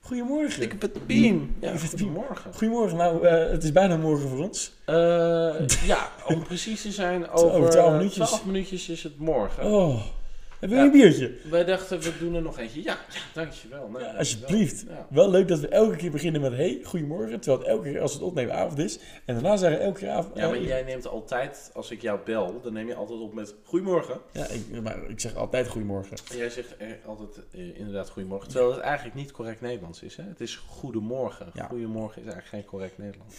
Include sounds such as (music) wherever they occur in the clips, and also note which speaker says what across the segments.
Speaker 1: Goedemorgen.
Speaker 2: Ik heb het beam.
Speaker 1: Ja,
Speaker 2: Ja, goedemorgen.
Speaker 1: Goedemorgen. Nou, eh, het is bijna morgen voor ons.
Speaker 2: Eh, ja, (laughs) om precies te zijn, over
Speaker 1: 12
Speaker 2: 12
Speaker 1: minuutjes.
Speaker 2: minuutjes. is het morgen.
Speaker 1: Oh. Hebben jullie
Speaker 2: Ja.
Speaker 1: een biertje?
Speaker 2: Wij dachten, we doen er nog eentje. Ja, ja dankjewel. Nou,
Speaker 1: Ja,
Speaker 2: dankjewel.
Speaker 1: alsjeblieft.
Speaker 2: Ja.
Speaker 1: Wel leuk dat we elke keer beginnen met hey, goedemorgen. Terwijl het elke keer als het opnemen avond is. En daarna zeggen we elke keer avond.
Speaker 2: Ja, maar
Speaker 1: eh,
Speaker 2: jij neemt altijd, als ik jou bel, dan neem je altijd op met goedemorgen.
Speaker 1: ja, ik, eh, maar ik zeg altijd goedemorgen.
Speaker 2: En jij zegt eh, altijd eh, inderdaad goedemorgen. Terwijl het eigenlijk niet correct Nederlands is. Hè? Het is goedemorgen.
Speaker 1: Ja.
Speaker 2: Goedemorgen is eigenlijk geen correct Nederlands.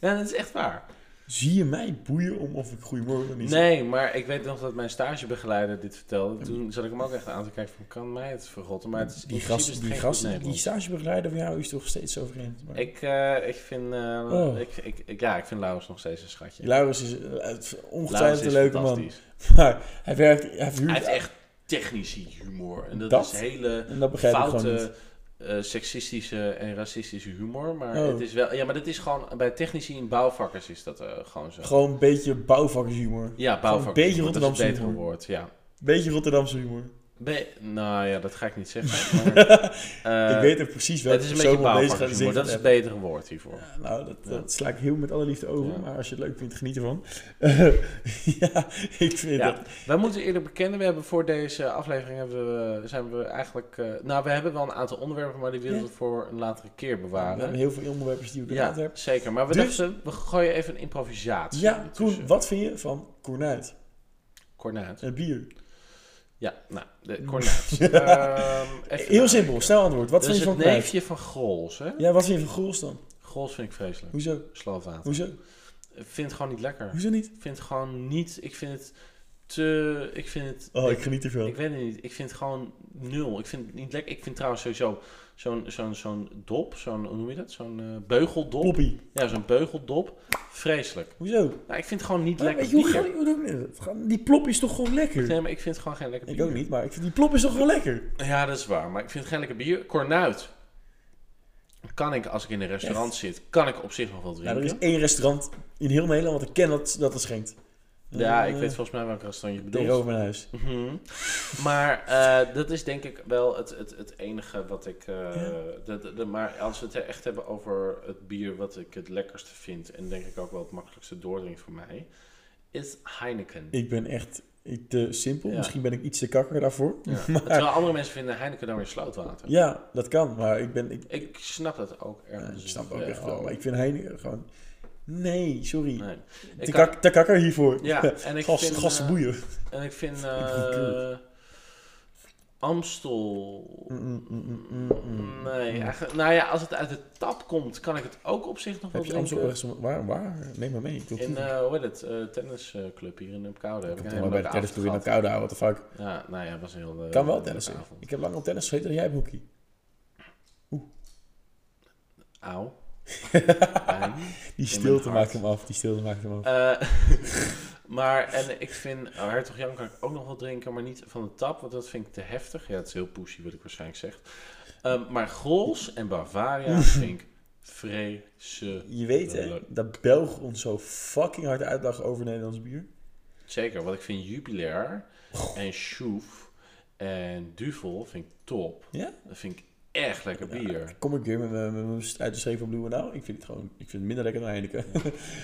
Speaker 2: Ja, dat is echt waar.
Speaker 1: Zie je mij boeien om of ik goedemorgen of niet zeg?
Speaker 2: Nee, maar ik weet nog dat mijn stagebegeleider dit vertelde. Toen zat ik hem ook echt aan te kijken van, kan mij het verrotten? Maar het is,
Speaker 1: Die
Speaker 2: in principe is
Speaker 1: gast,
Speaker 2: het
Speaker 1: die,
Speaker 2: geen
Speaker 1: gast,
Speaker 2: goed
Speaker 1: die
Speaker 2: Nederlands.
Speaker 1: stagebegeleider van jou is toch steeds zo vreemd. Maar-
Speaker 2: Ik, eh, ik vind, eh,
Speaker 1: Oh.
Speaker 2: ik, ik, ik- ja, ik vind Laurens nog steeds een schatje.
Speaker 1: Laurens is eh, het-
Speaker 2: Laurens
Speaker 1: ongetwijfeld
Speaker 2: is
Speaker 1: een leuke man.
Speaker 2: fantastisch.
Speaker 1: Maar hij werkt, hij verhuurt.
Speaker 2: Hij heeft echt technici humor. En dat,
Speaker 1: Dat?
Speaker 2: is hele
Speaker 1: en dat begrijp ik gewoon niet.
Speaker 2: foute, eh, seksistische en racistische humor. Maar
Speaker 1: Oh.
Speaker 2: het is wel, ja, maar dat is gewoon, bij technici in bouwvakkers is dat eh, gewoon zo.
Speaker 1: Gewoon een beetje bouwvakkershumor.
Speaker 2: ja, bouwvakkers.
Speaker 1: beetje
Speaker 2: humor, dat is
Speaker 1: Rotterdamse
Speaker 2: een beter
Speaker 1: humor.
Speaker 2: woord, ja.
Speaker 1: Beetje Rotterdamse humor.
Speaker 2: Be- nou ja, dat ga ik niet
Speaker 1: (laughs)
Speaker 2: zeggen. Maar, eh,
Speaker 1: ik weet er precies wel.
Speaker 2: het is een beetje
Speaker 1: gaat
Speaker 2: bouwvakkershumor. Dat is het betere woord hiervoor.
Speaker 1: Nou, dat,
Speaker 2: Ja.
Speaker 1: dat sla ik heel met alle liefde over.
Speaker 2: Ja.
Speaker 1: Maar als je het leuk vindt, geniet ervan. (laughs) ja, ik vind
Speaker 2: Ja.
Speaker 1: dat...
Speaker 2: Wij moeten eerlijk bekennen, we hebben voor deze aflevering hebben we, zijn we eigenlijk... eh, nou, we hebben wel een aantal onderwerpen, maar die willen
Speaker 1: Ja.
Speaker 2: we voor een latere keer
Speaker 1: We hebben
Speaker 2: bewaren.
Speaker 1: heel veel onderwerpen die ik
Speaker 2: Ja,
Speaker 1: gehad heb.
Speaker 2: zeker. Maar we
Speaker 1: Dus-
Speaker 2: dachten, we gooien even een improvisatie
Speaker 1: Ja, Koen,
Speaker 2: tussen.
Speaker 1: wat vind je van Cornuit?
Speaker 2: Kornuit.
Speaker 1: Het bier.
Speaker 2: Ja, nou,
Speaker 1: (laughs)
Speaker 2: de kornuit. Ehm,
Speaker 1: heel
Speaker 2: even
Speaker 1: simpel,
Speaker 2: nadenken.
Speaker 1: snel antwoord. Wat
Speaker 2: Dat
Speaker 1: vind
Speaker 2: is
Speaker 1: je van
Speaker 2: het
Speaker 1: Cornuit?
Speaker 2: neefje van Grols, hè?
Speaker 1: Ja, wat vind je van Gols dan?
Speaker 2: Grols vind ik vreselijk.
Speaker 1: Hoezo?
Speaker 2: Slovaat.
Speaker 1: Hoezo?
Speaker 2: Ik vind het gewoon niet lekker.
Speaker 1: Hoezo niet?
Speaker 2: Ik vind het gewoon niet... Ik vind het te... Ik vind het...
Speaker 1: Oh, ik geniet ervan.
Speaker 2: Ik weet het niet. Ik vind het gewoon nul. Ik vind het niet lekker. Ik vind trouwens sowieso zo'n zo'n zo'n dop, zo'n, hoe noem je dat? Zo'n eh, beugeldop.
Speaker 1: Ploppie.
Speaker 2: Ja, zo'n beugeldop. Vreselijk.
Speaker 1: Hoezo?
Speaker 2: Nou, ik vind het gewoon niet
Speaker 1: Maar
Speaker 2: lekker.
Speaker 1: weet je hoe
Speaker 2: bier.
Speaker 1: ga- hoe doe ik dit? Ga- Die plop is toch gewoon lekker?
Speaker 2: Nee, maar ik vind het gewoon geen lekker
Speaker 1: Ik
Speaker 2: bier.
Speaker 1: ook niet, maar ik vind die plop is toch gewoon lekker?
Speaker 2: Ja, dat is waar. Maar ik vind het geen lekker bier. Kornuit. Kan ik, als ik in een restaurant zit, kan ik op zich nog wel
Speaker 1: Nou, er
Speaker 2: drinken. Ja,
Speaker 1: is één restaurant in heel Nederland wat ik ken dat dat, dat schenkt.
Speaker 2: ik
Speaker 1: Eh,
Speaker 2: weet volgens mij welk restaurant je bedoelt.
Speaker 1: Tegenover mijn huis.
Speaker 2: Mhm. (laughs) Maar eh, dat is denk ik wel het, het, het enige wat ik. eh, dat- dat- dat- maar als we het echt hebben over het bier wat ik het lekkerste vind. En denk ik ook wel het makkelijkste doordringen voor mij. Is Heineken.
Speaker 1: Ik ben echt ik- te simpel.
Speaker 2: Ja.
Speaker 1: Misschien ben ik iets te kakker daarvoor. (laughs)
Speaker 2: Ja. Terwijl andere mensen vinden Heineken dan weer slootwater.
Speaker 1: Ja, dat kan. Maar ik ben... Ik,
Speaker 2: Ik snap dat ook
Speaker 1: ja,
Speaker 2: ergens.
Speaker 1: ik snap ook
Speaker 2: wel.
Speaker 1: echt wel. Maar ik vind Heineken gewoon... Nee, sorry.
Speaker 2: oh. Nee. Ik
Speaker 1: te,
Speaker 2: kan-
Speaker 1: kak, te kakker hiervoor. (laughs)
Speaker 2: Ja, en ik
Speaker 1: Gas,
Speaker 2: vind,
Speaker 1: gassen
Speaker 2: eh,
Speaker 1: boeien.
Speaker 2: En ik
Speaker 1: (laughs)
Speaker 2: vind.
Speaker 1: ben
Speaker 2: eh, Amstel.
Speaker 1: Mm, mm, mm, mm, mm.
Speaker 2: Nee, eigenlijk- nou ja, als het uit de tap komt, kan ik het ook op zich nog wel
Speaker 1: Heb je
Speaker 2: drinken.
Speaker 1: Amstel ergens... om- Waar, waar? Neem maar mee. Ik wil
Speaker 2: In,
Speaker 1: proeven.
Speaker 2: eh hoe heet het, eh, tennisclub hier in Apkoude.
Speaker 1: ik heb
Speaker 2: Heb ik
Speaker 1: toch
Speaker 2: een
Speaker 1: wel
Speaker 2: hele
Speaker 1: bij de
Speaker 2: leuke
Speaker 1: tennis proberen
Speaker 2: avond
Speaker 1: naar koude houden. What the fuck?
Speaker 2: gehad. Ja, nou ja, het was een heel... eh,
Speaker 1: kan wel
Speaker 2: leuke
Speaker 1: tennissen.
Speaker 2: avond.
Speaker 1: Ik heb lang op tennis gezeten en jij hebt hockey. (laughs)
Speaker 2: Auw. Pijn.
Speaker 1: Die
Speaker 2: mijn
Speaker 1: stilte maakt
Speaker 2: hart.
Speaker 1: hem af. Die stilte maakt hem af.
Speaker 2: Eh, (laughs) maar, en ik vind eh, Hertog Jan kan ik ook nog wel drinken, maar niet van de tap, want dat vind ik te heftig. Ja, het is heel pushy, wat ik waarschijnlijk zeg. Ehm, maar Grols
Speaker 1: (laughs)
Speaker 2: en Bavaria vind ik vreselijk.
Speaker 1: Je weet hè,
Speaker 2: Leuk.
Speaker 1: dat Belgen ons zo fucking hard uitlachen over Nederlands bier.
Speaker 2: Zeker, want ik vind Jubilair en Schoef en Duvel vind ik top.
Speaker 1: Ja?
Speaker 2: Dat vind ik echt lekker bier.
Speaker 1: Kom ik weer met mijn- met mijn uit de schreef van Bloemendaal? Ik vind het gewoon, ik vind het minder lekker dan Heineken.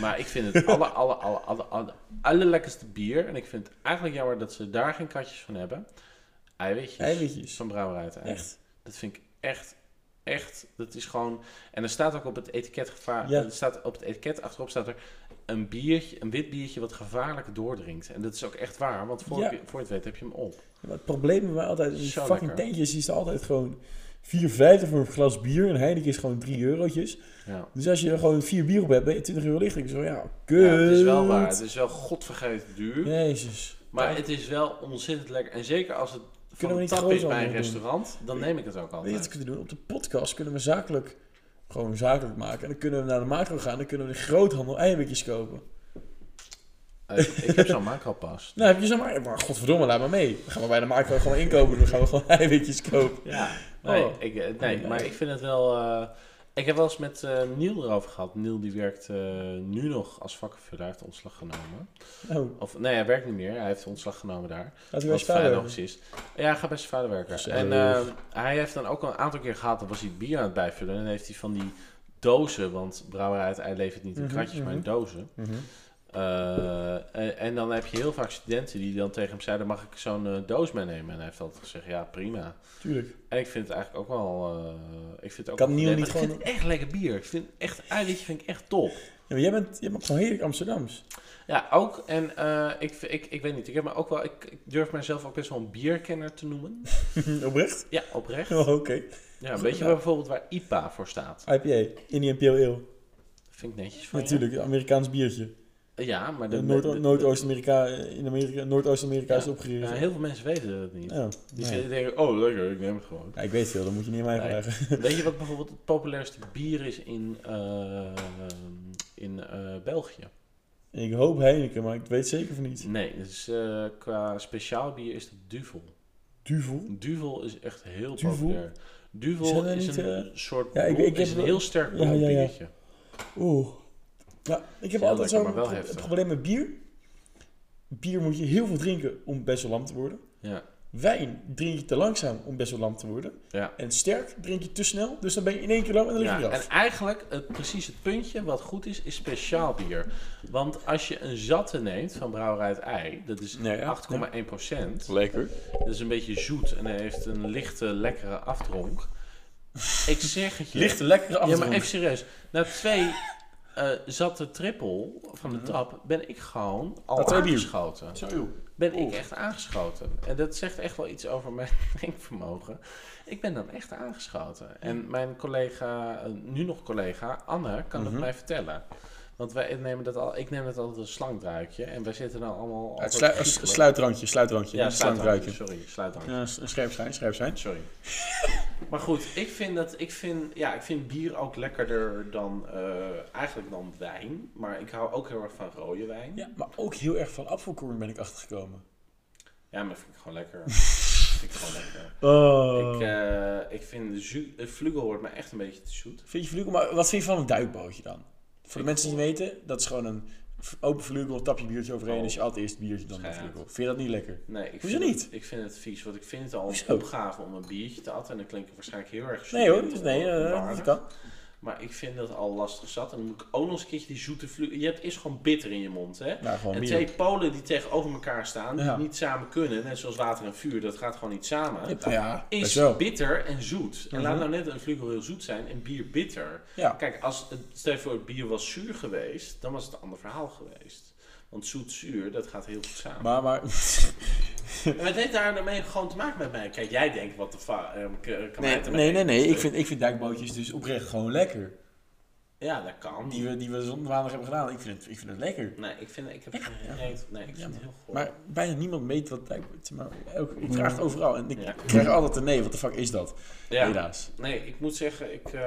Speaker 2: Maar ik vind
Speaker 1: (laughs)
Speaker 2: het alle, alle, alle, alle, alle, allerlekkerste bier. En ik vind het eigenlijk jammer dat ze daar geen katjes van hebben. Eiwitjes.
Speaker 1: Eiwitjes.
Speaker 2: Van Brouwerij uit Eind.
Speaker 1: (laughs) Echt.
Speaker 2: Dat vind ik echt, echt. Dat is gewoon... En er staat ook op het etiket gevaar...
Speaker 1: Ja.
Speaker 2: Er staat op het etiket achterop staat er een biertje, een wit biertje wat gevaarlijk doordringt. En dat is ook echt waar. Want voor,
Speaker 1: Ja.
Speaker 2: je, voor je het weet heb je hem op.
Speaker 1: Maar het probleem met mij altijd, in die
Speaker 2: Zo
Speaker 1: fucking
Speaker 2: lekker.
Speaker 1: tentjes is er altijd gewoon 4,50 voor een glas bier. En Heineken is gewoon 3 eurotjes.
Speaker 2: Ja.
Speaker 1: Dus als je er gewoon 4 bier op hebt, ben je 20 euro lichter. Ik zo, ja, kut.
Speaker 2: Ja, het is wel waar. Het is wel godvergeten duur.
Speaker 1: Jezus.
Speaker 2: Maar het is wel ontzettend lekker. En zeker als het van
Speaker 1: we
Speaker 2: de
Speaker 1: niet
Speaker 2: tap
Speaker 1: groot
Speaker 2: is bij een
Speaker 1: allemaal doen?
Speaker 2: restaurant, dan neem ik het ook
Speaker 1: Weet je wat
Speaker 2: altijd.
Speaker 1: we kunnen doen? Op de podcast kunnen we zakelijk, gewoon zakelijk maken. En dan kunnen we naar de macro gaan. Dan kunnen we de groothandel eiwitjes kopen.
Speaker 2: Eh, ik heb zo'n
Speaker 1: (laughs)
Speaker 2: macro-pas.
Speaker 1: Nou, heb je zo maar, maar godverdomme, laat maar mee. Dan gaan we bij de macro gewoon (laughs) inkopen. Dan gaan we gewoon eiwitjes kopen.
Speaker 2: Ja.
Speaker 1: Oh.
Speaker 2: Nee, ik, eh, nee maar ik vind het wel. eh, Ik heb wel eens met eh, Niel erover gehad. Niel die werkt eh, nu nog als vakkenvuller. Hij heeft ontslag genomen.
Speaker 1: Oh,
Speaker 2: Of nee, hij werkt niet meer. Hij heeft ontslag genomen daar.
Speaker 1: gaat u wel
Speaker 2: Wat
Speaker 1: eens
Speaker 2: fijn nog
Speaker 1: verder?
Speaker 2: precies. Ja, hij gaat bij zijn vader werken.
Speaker 1: Gezellig.
Speaker 2: En eh, hij heeft dan ook al een aantal keer gehad, dan was hij bier aan het bijvullen. En dan heeft hij van die dozen, want brouwerij uit ei levert niet in
Speaker 1: Mhm,
Speaker 2: kratjes, maar in
Speaker 1: mhm.
Speaker 2: dozen.
Speaker 1: Mhm.
Speaker 2: Eh, en, en dan heb je heel vaak studenten die dan tegen hem zeiden, mag ik zo'n eh, doos meenemen? En hij heeft altijd gezegd, ja, prima.
Speaker 1: Tuurlijk.
Speaker 2: En ik vind het eigenlijk ook wel... eh, ik vind het ook
Speaker 1: Kan
Speaker 2: wel
Speaker 1: Niel
Speaker 2: goed.
Speaker 1: niet
Speaker 2: Maar Ik
Speaker 1: gewoon-
Speaker 2: vind het echt lekker bier. Ik vind echt, eigenlijk vind ik echt top.
Speaker 1: Ja, maar jij bent, jij bent gewoon heerlijk Amsterdams.
Speaker 2: Ja, ook. En eh, ik, ik, ik weet niet, ik, heb me ook wel, ik, ik durf mezelf ook best wel een bierkenner te noemen. Mhm.
Speaker 1: (laughs) Oprecht?
Speaker 2: Ja, oprecht.
Speaker 1: Oh, Oké.
Speaker 2: Ja,
Speaker 1: Goed
Speaker 2: weet je
Speaker 1: gedaan.
Speaker 2: bijvoorbeeld waar IPA voor staat?
Speaker 1: IPA, Indian Pale Ale.
Speaker 2: Oh, Vind ik netjes van je.
Speaker 1: Natuurlijk, een Amerikaans biertje.
Speaker 2: Ja, maar de,
Speaker 1: De Noord-
Speaker 2: de- de-
Speaker 1: Noordoost-Amerika, eh, in Amerika, Noordoost-Amerika is
Speaker 2: Ja.
Speaker 1: het opgericht.
Speaker 2: Ja, heel veel mensen weten dat niet.
Speaker 1: Ja,
Speaker 2: Die
Speaker 1: nou ja.
Speaker 2: zitten denken, oh lekker, ik neem het
Speaker 1: (laughs)
Speaker 2: gewoon.
Speaker 1: Ja, ik weet veel, dat moet je niet aan mij
Speaker 2: Nee.
Speaker 1: vragen. (laughs)
Speaker 2: Weet je wat bijvoorbeeld het populairste bier is in, eh, in eh, België?
Speaker 1: Ik hoop Heineken, maar ik weet zeker van niet.
Speaker 2: Nee, dus eh, qua speciaal bier is het Duvel.
Speaker 1: Duvel?
Speaker 2: Duvel is echt heel
Speaker 1: Duvel?
Speaker 2: populair. Duvel
Speaker 1: Zijn er
Speaker 2: is
Speaker 1: niet, eh,
Speaker 2: een soort
Speaker 1: Ja, ik-
Speaker 2: bron-
Speaker 1: ik heb
Speaker 2: is een
Speaker 1: wel-
Speaker 2: heel sterk
Speaker 1: Ja, ja, ja.
Speaker 2: biertje.
Speaker 1: Oeh. Ja, ik heb
Speaker 2: Heel
Speaker 1: altijd
Speaker 2: lekker, maar
Speaker 1: zo'n
Speaker 2: wel
Speaker 1: pro-
Speaker 2: heftig.
Speaker 1: probleem met bier. Bier moet je heel veel drinken om best wel lam te worden.
Speaker 2: Ja.
Speaker 1: Wijn drink je te langzaam om best wel lam te worden.
Speaker 2: Ja.
Speaker 1: En sterk drink je te snel, dus dan ben je in één keer lam en dan lig je
Speaker 2: Ja,
Speaker 1: eraf.
Speaker 2: en eigenlijk het, precies het puntje wat goed is, is speciaal bier. Want als je een zatte neemt van Brouwerij het Ei, dat is
Speaker 1: Nee, ja.
Speaker 2: 8,1 procent.
Speaker 3: Lekker.
Speaker 2: Dat is een beetje zoet en hij heeft een lichte, lekkere afdronk. Ik zeg het je.
Speaker 1: Lichte, lekkere
Speaker 2: Ja,
Speaker 1: afdronk.
Speaker 2: maar even serieus. Na twee eh, zatte triple van de trap ben ik gewoon al
Speaker 1: Mhm. Na twee bier.
Speaker 2: aangeschoten.
Speaker 1: Zo, joh.
Speaker 2: Ben ik
Speaker 1: Oeh.
Speaker 2: echt aangeschoten. En dat zegt echt wel iets over mijn (laughs) drinkvermogen. Ik ben dan echt aangeschoten. En mijn collega, eh, nu nog collega, Anne, kan
Speaker 1: Mhm.
Speaker 2: het mij vertellen. Want wij nemen dat al, ik neem dat altijd als slangdrankje. En wij zitten dan allemaal...
Speaker 1: Ja, het
Speaker 2: altijd
Speaker 1: slui- eh,
Speaker 2: giechelen.
Speaker 1: sluitrankje, sluitrankje.
Speaker 2: Ja,
Speaker 1: niet slankruikje.
Speaker 2: sluitdrankje. Sorry, sluitdrankje.
Speaker 1: Ja, s- scherp zijn, scherp zijn.
Speaker 2: Sorry. (laughs) maar goed, ik vind, dat, ik, vind, ja, ik vind bier ook lekkerder dan, eh, eigenlijk dan wijn. Maar ik hou ook heel erg van rode wijn.
Speaker 1: Ja, maar ook heel erg van afvalkorn ben ik achtergekomen.
Speaker 2: Ja, maar vind ik gewoon
Speaker 1: (laughs)
Speaker 2: lekker. vind ik gewoon lekker.
Speaker 1: Oh.
Speaker 2: Ik, eh, ik vind de zu- eh, vlugel wordt me echt een beetje te zoet.
Speaker 1: Vind je vlugel, maar wat vind je van een duikbootje dan? Voor
Speaker 2: Ik
Speaker 1: de mensen die niet weten, dat is gewoon een v- open vlugel, tap je biertje overheen.
Speaker 2: Oh.
Speaker 1: Dus je altijd eerst biertje dan een
Speaker 2: Schijt.
Speaker 1: vlugel. Vind je dat niet lekker?
Speaker 2: Nee, ik
Speaker 1: Hoezo
Speaker 2: vind
Speaker 1: niet?
Speaker 2: Het, ik vind het vies, want ik vind het al een
Speaker 1: Hoezo?
Speaker 2: opgave om een biertje te atten. En dan klinkt het waarschijnlijk heel erg
Speaker 1: Nee hoor,
Speaker 2: student-
Speaker 1: dus nee, eh,
Speaker 2: onwaardig.
Speaker 1: dat kan.
Speaker 2: Maar ik vind dat al lastig zat. En dan moet ik ook nog eens een keertje die zoete vlugel... Je hebt eerst gewoon bitter in je mond, hè?
Speaker 1: Nou, gewoon
Speaker 2: En
Speaker 1: bier.
Speaker 2: twee polen die tegenover elkaar staan, die
Speaker 1: Ja.
Speaker 2: niet samen kunnen, net zoals water en vuur, dat gaat gewoon niet samen,
Speaker 1: Ja, ja, best
Speaker 2: is
Speaker 1: wel.
Speaker 2: bitter en zoet. En laat
Speaker 1: Mhm.
Speaker 2: nou net een vlugel heel zoet zijn en bier bitter.
Speaker 1: Ja.
Speaker 2: Kijk, als het, stel je voor het bier was zuur geweest, dan was het een ander verhaal geweest. Want zoet-zuur, dat gaat heel goed samen.
Speaker 1: Maar, maar...
Speaker 2: En wat heeft daar daarmee gewoon te maken met mij? Kijk, jij denkt, wat de fuck, eh, kan mij
Speaker 1: Nee, (laughs)
Speaker 2: te
Speaker 1: nee, nee,
Speaker 2: maken?
Speaker 1: nee. Ik vind, ik vind duikbootjes dus oprecht gewoon lekker.
Speaker 2: Ja, dat kan.
Speaker 1: Die we, die we zondag maandag hebben gedaan. Ik vind het, ik vind het lekker.
Speaker 2: Nee, ik vind, ik heb geen
Speaker 1: ja.
Speaker 2: reet. Nee, ik vind
Speaker 1: Jammer.
Speaker 2: het heel goed.
Speaker 1: Maar bijna niemand weet wat duikbootje... Maar elke- ik vraag het overal en ik
Speaker 2: Ja.
Speaker 1: krijg altijd een nee. Wat de fuck is dat?
Speaker 2: ja.
Speaker 1: Helaas.
Speaker 2: Nee, ik moet zeggen,
Speaker 1: (laughs)
Speaker 2: ik. eh,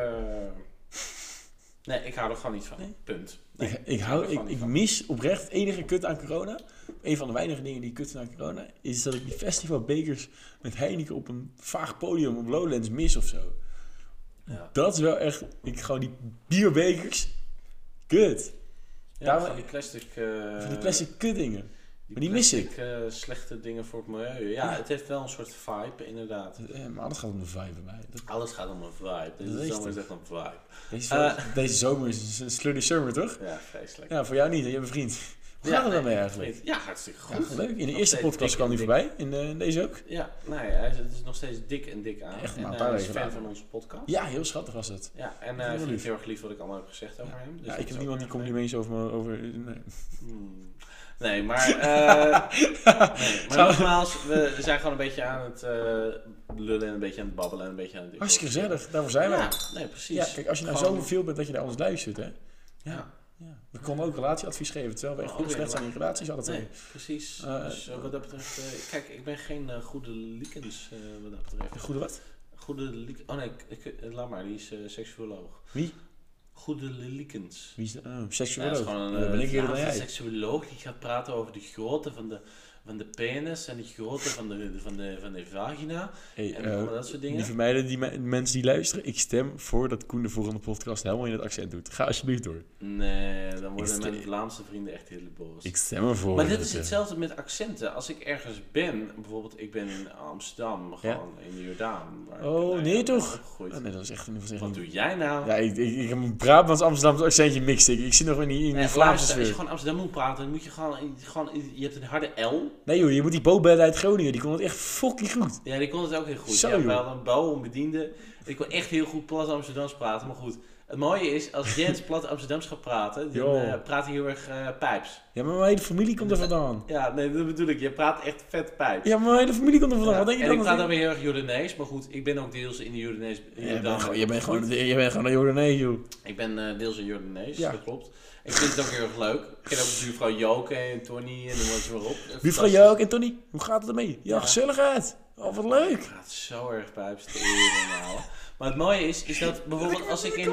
Speaker 2: Nee, ik hou er gewoon niet van.
Speaker 1: Nee?
Speaker 2: Punt. Nee.
Speaker 1: ik, ik,
Speaker 2: ik
Speaker 1: hou,
Speaker 2: hou
Speaker 1: ik,
Speaker 2: er
Speaker 1: ik
Speaker 2: van.
Speaker 1: mis oprecht het enige kut aan corona. Een van de weinige dingen die ik kut vind aan corona is dat ik die festivalbekers met Heineken op een vaag podium op Lowlands mis of zo.
Speaker 2: Ja.
Speaker 1: Dat is wel echt, ik gewoon die bierbekers, kut.
Speaker 2: Ja,
Speaker 1: Daarom-
Speaker 2: van die plastic. eh,
Speaker 1: Van die plastic kutdingen. maar die mis
Speaker 2: plastic, eh, slechte dingen voor het milieu. Ja,
Speaker 1: Ja.
Speaker 2: het heeft wel een soort vibe, inderdaad.
Speaker 1: Eh, Maar dat gaat om de vibe bij mij. Dat-
Speaker 2: Alles gaat om een vibe. Dit
Speaker 1: Dat
Speaker 2: is
Speaker 1: is
Speaker 2: zomer is
Speaker 1: het.
Speaker 2: echt een vibe.
Speaker 1: Deze,
Speaker 2: Eh.
Speaker 1: deze zomer is een slurry summer, toch?
Speaker 2: Ja, vreselijk.
Speaker 1: Ja, voor jou niet, hè? je hebt een vriend. Hoe
Speaker 2: Ja,
Speaker 1: gaat het dan
Speaker 2: nee,
Speaker 1: mee eigenlijk?
Speaker 2: Ja, hartstikke
Speaker 1: Ja,
Speaker 2: goed.
Speaker 1: goed, leuk. In de
Speaker 2: Nog
Speaker 1: eerste
Speaker 2: steeds
Speaker 1: podcast
Speaker 2: dik
Speaker 1: kwam
Speaker 2: en
Speaker 1: die
Speaker 2: dik.
Speaker 1: voorbij, in eh, deze ook.
Speaker 2: Ja, nou ja, hij is- het is nog steeds dik en dik aan.
Speaker 1: Echt,
Speaker 2: en
Speaker 1: nou, een
Speaker 2: eh,
Speaker 1: paar
Speaker 2: hij is
Speaker 1: weken
Speaker 2: fan
Speaker 1: later.
Speaker 2: van onze podcast.
Speaker 1: Ja, heel schattig was het.
Speaker 2: Ja, en
Speaker 1: is
Speaker 2: eh
Speaker 1: heel
Speaker 2: vind ik
Speaker 1: lief.
Speaker 2: heel erg lief wat ik allemaal heb gezegd over hem. Dus
Speaker 1: ja, ik
Speaker 2: dat is
Speaker 1: heb
Speaker 2: ook
Speaker 1: niemand die
Speaker 2: erg leuk.
Speaker 1: complimentjes over me... Over, nee.
Speaker 2: Hmm. Nee, maar,
Speaker 1: (laughs)
Speaker 2: eh, nee, maar nogmaals, we zijn gewoon een beetje aan het eh, lullen en een beetje aan het babbelen en een beetje aan het...
Speaker 1: Hartstikke gezellig, daarvoor zijn wij.
Speaker 2: Ja,
Speaker 1: Ja,
Speaker 2: nee, precies.
Speaker 1: kijk, als je nou
Speaker 2: Gewoon-
Speaker 1: zo veel bent dat je naar ons luistert, hè.
Speaker 2: Ja.
Speaker 1: ja. We konden ook relatieadvies geven, terwijl we echt
Speaker 2: Oh,
Speaker 1: heel
Speaker 2: ja,
Speaker 1: slecht zijn
Speaker 2: maar-
Speaker 1: in relaties alle twee.
Speaker 2: Nee, precies.
Speaker 1: Eh,
Speaker 2: dus eh, wat dat betreft, eh, kijk, ik ben geen eh, goede liekens eh, wat dat betreft.
Speaker 1: De goede wat?
Speaker 2: Goede liek... Oh nee, ik, ik- eh, laat maar, die is eh seksuoloog.
Speaker 1: Wie?
Speaker 2: Goede liekens.
Speaker 1: Wie is dat? Oh,
Speaker 2: Ja, dat is
Speaker 1: seksuoloog.
Speaker 2: gewoon een
Speaker 1: Dan ben
Speaker 2: eh,
Speaker 1: ik eerder dan
Speaker 2: Vlaamse
Speaker 1: jij.
Speaker 2: seksuoloog die gaat praten over de grootte van de van de penis en de grootte van de, van de, van de vagina.
Speaker 1: Hey,
Speaker 2: En
Speaker 1: eh,
Speaker 2: allemaal dat soort dingen.
Speaker 1: Lieve meiden, die me- mensen die luisteren, ik stem voor dat Koen de volgende podcast helemaal in het accent doet. Ga alsjeblieft door.
Speaker 2: Nee, dan
Speaker 1: Ik
Speaker 2: worden
Speaker 1: ste-
Speaker 2: mijn Vlaamse vrienden echt heel boos.
Speaker 1: Ik stem ervoor.
Speaker 2: Maar dit
Speaker 1: dat,
Speaker 2: is
Speaker 1: eh,
Speaker 2: hetzelfde met accenten. Als ik ergens ben, bijvoorbeeld ik ben in Amsterdam, gewoon in de Jordaan. waar ik,
Speaker 1: Oh,
Speaker 2: nou ja,
Speaker 1: nee,
Speaker 2: ben
Speaker 1: toch?
Speaker 2: opgegroeid.
Speaker 1: Ah, nee, dat is echt een... Dat is echt
Speaker 2: Wat
Speaker 1: een
Speaker 2: doe jij nou?
Speaker 1: ja, ik, ik, ik heb een Brabants-Amsterdamse accentje mix ik. Ik zit nog in die, in die
Speaker 2: Nee,
Speaker 1: Vlaamse
Speaker 2: luister, als je
Speaker 1: sfeer.
Speaker 2: gewoon Amsterdam moet praten, dan moet je gewoon, gewoon... Je hebt een harde L.
Speaker 1: Nee joh, je moet die Bobelle uit Groningen, die kon het echt fucking goed.
Speaker 2: Ja, die kon het ook heel goed.
Speaker 1: Zo,
Speaker 2: ja, we
Speaker 1: joh.
Speaker 2: hadden een bouw, een bediende. Ik kon echt heel goed plat Amsterdams praten. Maar goed, het mooie is, als Jens plat Amsterdams gaat praten, dan
Speaker 1: Yo.
Speaker 2: eh, praat hij heel erg eh, pijps.
Speaker 1: Ja, maar mijn hele familie komt er vandaan.
Speaker 2: Ja, nee, dat bedoel ik. Je praat echt vet pijps.
Speaker 1: Ja, maar mijn hele familie komt er vandaan.
Speaker 2: Ja,
Speaker 1: Wat denk je
Speaker 2: en
Speaker 1: dan?
Speaker 2: ik praat
Speaker 1: dat
Speaker 2: dan
Speaker 1: ik-
Speaker 2: weer heel erg Jordanees, maar goed, ik ben ook deels in de Jordanees.
Speaker 1: Je
Speaker 2: Jordaan-
Speaker 1: bent gewoon- je bent gewoon je bent gewoon een Jordanees, joh.
Speaker 2: Ik ben eh, deels een Jordanees,
Speaker 1: Ja.
Speaker 2: dat klopt. Ik vind het ook heel erg leuk. Ik ken ook buurvrouw Joke en Tony en noem het maar op.
Speaker 1: Buurvrouw
Speaker 2: Fantastisch.
Speaker 1: Jook en Tony, hoe gaat het ermee? Ja,
Speaker 2: Ja.
Speaker 1: gezelligheid. Oh, wat leuk.
Speaker 2: Ik praat zo erg pijps (laughs) te eren, ouwe. Maar het mooie is, is dat bijvoorbeeld als ik in...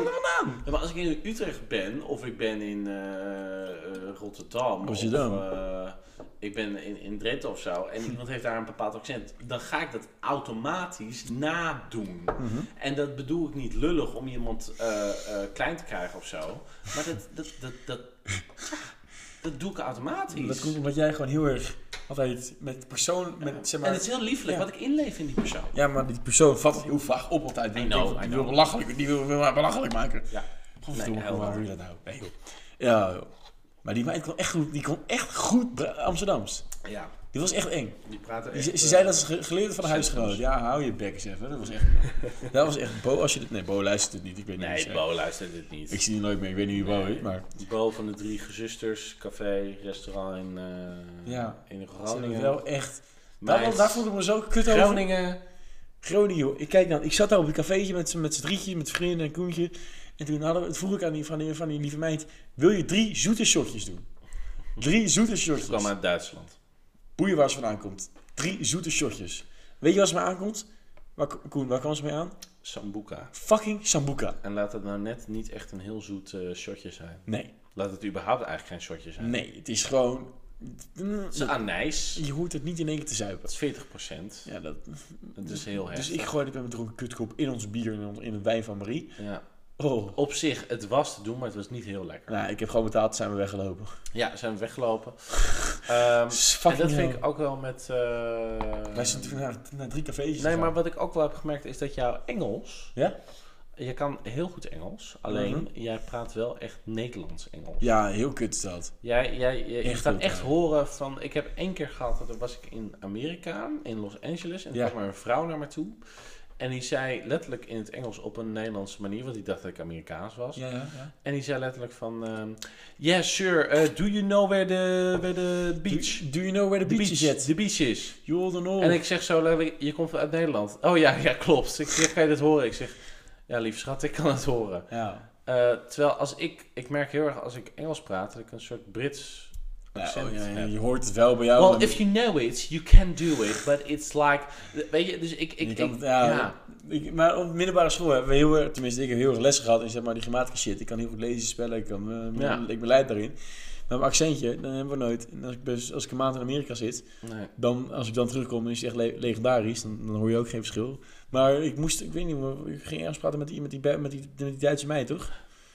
Speaker 2: Ja, maar als ik in Utrecht ben, of ik ben in eh, eh, Rotterdam,
Speaker 1: Rotterdam.
Speaker 2: of eh, ik ben in, in Drenthe of zo,
Speaker 1: Mhm.
Speaker 2: en iemand heeft daar een bepaald accent, dan ga ik dat automatisch nadoen.
Speaker 1: Mhm.
Speaker 2: En dat bedoel ik niet lullig om iemand eh, eh, klein te krijgen of zo, maar dat, dat, dat, dat, ja, dat doe ik automatisch.
Speaker 1: Dat komt omdat jij gewoon heel erg altijd met persoon, met zeg
Speaker 2: En
Speaker 1: maar...
Speaker 2: het is heel lieflijk,
Speaker 1: Ja.
Speaker 2: want ik inleef in die persoon.
Speaker 1: Ja, maar die persoon vat het heel vaag op altijd. Die,
Speaker 2: I know,
Speaker 1: wil-
Speaker 2: I
Speaker 1: die
Speaker 2: know.
Speaker 1: wil belachelijk, die wil, wil mij belachelijk maken.
Speaker 2: Ja.
Speaker 1: Godverdomme,
Speaker 2: Nee, heel
Speaker 1: waar
Speaker 2: waar.
Speaker 1: doe je dat nou? Nee, joh. Ja, joh. Maar die meid kon echt goed, die kon echt goed Bra- Amsterdams.
Speaker 2: Ja,
Speaker 1: Die was echt eng.
Speaker 2: die praten
Speaker 1: Die-
Speaker 2: echt...
Speaker 1: ze, ze
Speaker 2: eh,
Speaker 1: zei dat ze ge- geleerd had van de huisgenoot. Ja, hou je bek eens even. Dat was
Speaker 2: (laughs)
Speaker 1: echt... dat was echt... Bo, als je dit... Nee, Bo luistert het niet. Ik weet niet wie
Speaker 2: Nee,
Speaker 1: ze-
Speaker 2: Bo luistert dit niet.
Speaker 1: Ik zie die nooit meer. Ik weet niet wie Bo is, maar...
Speaker 2: Bo van de Drie Gezusters, café, restaurant in, eh,
Speaker 1: Ja.
Speaker 2: in
Speaker 1: Ze hebben
Speaker 2: Groningen.
Speaker 1: wel echt...
Speaker 2: Meis.
Speaker 1: Daar, daar voelde ik me zo kut over.
Speaker 2: Groningen.
Speaker 1: Groningen, joh. Ik kijk dan, ik zat daar op een cafeetje met z'n met z'n drietje, met vrienden en Koentje. En toen hadden we, vroeg ik aan die, van die, van die lieve meid, wil je drie zoete shotjes doen? Drie zoete
Speaker 2: Ik kwam
Speaker 1: shotjes.
Speaker 2: uit Duitsland.
Speaker 1: Boeien waar ze vandaan komt. Drie zoete shotjes. Weet je waar ze mee aankomt? Waar, Koen, waar kwam ze mee aan?
Speaker 2: Sambuca.
Speaker 1: Fucking Sambuca.
Speaker 2: En laat het nou net niet echt een heel zoet eh, shotje zijn.
Speaker 1: Nee,
Speaker 2: Laat het überhaupt eigenlijk geen shotje zijn.
Speaker 1: nee. Het is gewoon... Mm,
Speaker 2: Het is anijs.
Speaker 1: Je hoort het niet in één keer te zuipen.
Speaker 2: Dat is 40 procent.
Speaker 1: Ja, dat,
Speaker 2: Nou Dat is heel
Speaker 1: dus
Speaker 2: heftig.
Speaker 1: ik gooi het met mijn dronken kutkop in ons bier, en in, ons- in het wijn van Marie.
Speaker 2: ja.
Speaker 1: Oh.
Speaker 2: Op zich, het was te doen, maar het was niet heel lekker.
Speaker 1: Nou, ik heb gewoon betaald, zijn we weggelopen. Dus
Speaker 2: Ja, zijn we
Speaker 1: (laughs)
Speaker 2: weggelopen. Ehm, en
Speaker 1: Fucking
Speaker 2: dat
Speaker 1: hell.
Speaker 2: vind ik ook wel met... eh,
Speaker 1: Wij zijn toen naar, naar drie cafeetjes
Speaker 2: Nee,
Speaker 1: gegaan.
Speaker 2: maar wat ik ook wel heb gemerkt is dat jouw Engels...
Speaker 1: Ja? Mhm.
Speaker 2: Je kan heel goed Engels, alleen jij praat wel echt Nederlands-Engels.
Speaker 1: Ja, heel kut is dat.
Speaker 2: Jij, jij, je, je
Speaker 1: Echt
Speaker 2: kan
Speaker 1: heel
Speaker 2: echt
Speaker 1: raar.
Speaker 2: horen van... Ik heb één keer gehad, dat was ik in Amerika, in Los Angeles. En toen
Speaker 1: Ja.
Speaker 2: kwam er een vrouw naar me toe. En die zei letterlijk in het Engels op een Nederlandse manier, want die dacht dat ik Amerikaans was.
Speaker 1: Ja, ja, ja.
Speaker 2: En die zei letterlijk van... ehm yeah, sure, eh, do you know where the, where the beach...
Speaker 1: Do, do you know where the
Speaker 2: the
Speaker 1: beach, is at?
Speaker 2: The beach is.
Speaker 1: You all don't know.
Speaker 2: En ik zeg zo letterlijk, je komt uit Nederland. Oh ja, ja klopt. Ik zeg, kan je dit horen? Ik zeg, ja lief schat, ik kan het horen.
Speaker 1: Ja.
Speaker 2: Eh, terwijl als ik, ik merk heel erg als ik Engels praat, dat ik een soort Brits
Speaker 1: Ja,
Speaker 2: accent
Speaker 1: oh, ja, ja,
Speaker 2: heb.
Speaker 1: je hoort het wel bij jou.
Speaker 2: Well,
Speaker 1: maar-
Speaker 2: if you know it, you can do it, but it's like... Weet je, dus ik...
Speaker 1: je
Speaker 2: ik,
Speaker 1: kan
Speaker 2: ik-
Speaker 1: het-
Speaker 2: ja,
Speaker 1: ja, ik, maar op middelbare school hebben we heel erg, tenminste ik heb heel erg les gehad in zeg maar die grammatica shit. Ik kan heel goed lezen, spellen, ik, kan, eh,
Speaker 2: Ja.
Speaker 1: ik beleid daarin. Maar mijn accentje, dan hebben we nooit. En als ik, best, als ik een maand in Amerika zit,
Speaker 2: Nee.
Speaker 1: dan als ik dan terugkom, dan is het echt le- legendarisch. Dan, dan hoor je ook geen verschil. Maar ik moest, ik weet niet, maar ik ging ergens praten met die, met die, met die, met die Duitse meid, toch?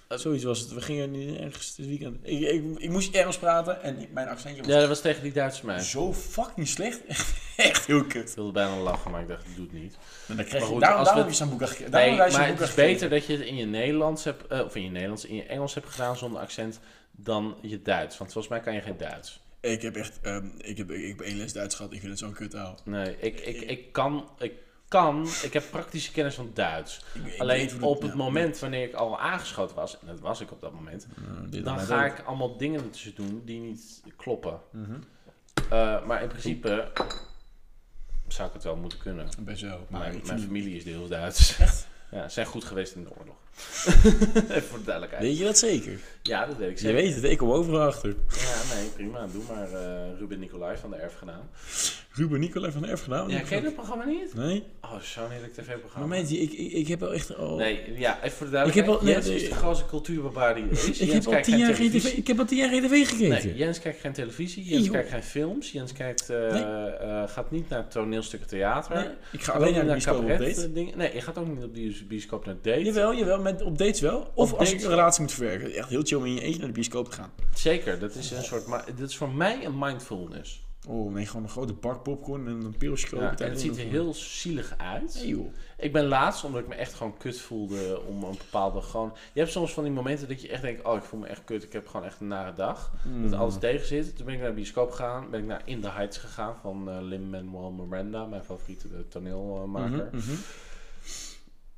Speaker 2: Eh,
Speaker 1: Zoiets was het. We gingen nu ergens dit weekend. Ik, ik, ik moest ergens praten en die- mijn accentje was
Speaker 2: ja, dat was tegen die Duitse meid.
Speaker 1: zo fucking slecht. (laughs) echt heel kut.
Speaker 2: Ik wilde bijna lachen, maar ik dacht, doe het niet.
Speaker 1: En dan krijg
Speaker 2: Maar
Speaker 1: je,
Speaker 2: goed,
Speaker 1: daarom,
Speaker 2: als
Speaker 1: daarom
Speaker 2: we-
Speaker 1: heb je Sambuca gekregen.
Speaker 2: Nee,
Speaker 1: Daarom
Speaker 2: maar
Speaker 1: heb je
Speaker 2: het
Speaker 1: Sambuca
Speaker 2: is beter dat je het in je Nederlands hebt... eh, of in je Nederlands, in je Engels hebt gedaan zonder accent... dan je Duits. Want volgens mij kan je geen Duits.
Speaker 1: gekregen. Ik heb echt, ehm, ik, heb, ik heb één les Duits gehad. Ik vind het zo'n kut taal.
Speaker 2: Nee, ik, ik, ik kan. Ik kan. Ik heb praktische kennis van Duits.
Speaker 1: Ik- ik weet hoe
Speaker 2: Alleen
Speaker 1: dat-
Speaker 2: op het
Speaker 1: ja.
Speaker 2: moment wanneer ik al aangeschoten was, en dat was ik op dat moment,
Speaker 1: Nou, dit
Speaker 2: dan
Speaker 1: had
Speaker 2: ga
Speaker 1: mij ook.
Speaker 2: ik allemaal dingen tussen doen die niet kloppen.
Speaker 1: Mhm.
Speaker 2: Eh, maar in principe zou ik het wel moeten kunnen.
Speaker 1: Best wel. Maar
Speaker 2: Mijn,
Speaker 1: ik
Speaker 2: mijn
Speaker 1: vind-
Speaker 2: familie is deels Duits.
Speaker 1: Echt?
Speaker 2: Ja, ze zijn goed geweest in de
Speaker 1: (laughs)
Speaker 2: oorlog. Even voor de duidelijkheid.
Speaker 1: Weet je dat zeker?
Speaker 2: Ja, dat weet ik
Speaker 1: Je
Speaker 2: zeker.
Speaker 1: weet het, ik kom overal achter. Oh,
Speaker 2: Ja, nee, prima. Doe maar eh, Ruben Nicolai van de Erfgenaam.
Speaker 1: Ruben Nicolai van de Erf gedaan.
Speaker 2: Ja, ken je dat programma niet?
Speaker 1: Nee?
Speaker 2: Oh, zo'n heerlijk tv-programma.
Speaker 1: Maar mensen, ik, ik, ik heb al echt al...
Speaker 2: Nee, ja, even voor de
Speaker 1: Ik heb al-
Speaker 2: duidelijkheid. Jens
Speaker 1: nee,
Speaker 2: is
Speaker 1: nee.
Speaker 2: de grootste cultuurbarbaar die er is.
Speaker 1: ik,
Speaker 2: Jens
Speaker 1: heb al
Speaker 2: kijkt
Speaker 1: tien
Speaker 2: geen
Speaker 1: jaar geen tv,
Speaker 2: televisie.
Speaker 1: ik heb al tien jaar geen tv gekeken.
Speaker 2: Nee, Jens kijkt geen televisie, Jens
Speaker 1: joh.
Speaker 2: kijkt geen films, Jens kijkt, eh,
Speaker 1: Nee.
Speaker 2: eh, gaat niet naar toneelstukken theater.
Speaker 1: Nee, ik ga alleen naar de bioscoop op date.
Speaker 2: eh, Dingen. Nee, je gaat ook niet op die bioscoop naar date.
Speaker 1: Jawel, jawel, met op dates wel. Of
Speaker 2: Op
Speaker 1: als
Speaker 2: dates
Speaker 1: ik een
Speaker 2: wel.
Speaker 1: relatie moet verwerken. Echt heel chill om in je eentje naar de bioscoop te gaan.
Speaker 2: Zeker, dat is een soort, maar dit is voor mij een mindfulness.
Speaker 1: Oh nee, gewoon een grote bak popcorn en een pilsje kopen.
Speaker 2: Ja, en het
Speaker 1: tijdens
Speaker 2: ziet er
Speaker 1: een-
Speaker 2: heel zielig uit.
Speaker 1: Nee joh.
Speaker 2: Ik ben laatst, omdat ik me echt gewoon kut voelde om een bepaalde gewoon... Je hebt soms van die momenten dat je echt denkt, oh ik voel me echt kut, ik heb gewoon echt een nare dag.
Speaker 1: Mm.
Speaker 2: Dat alles
Speaker 1: Mhm,
Speaker 2: tegen zit. Toen ben ik naar de bioscoop gegaan, ben ik naar In the Heights gegaan van eh Lin-Manuel Miranda, mijn favoriete eh, toneelmaker.
Speaker 1: Mhm, mhm.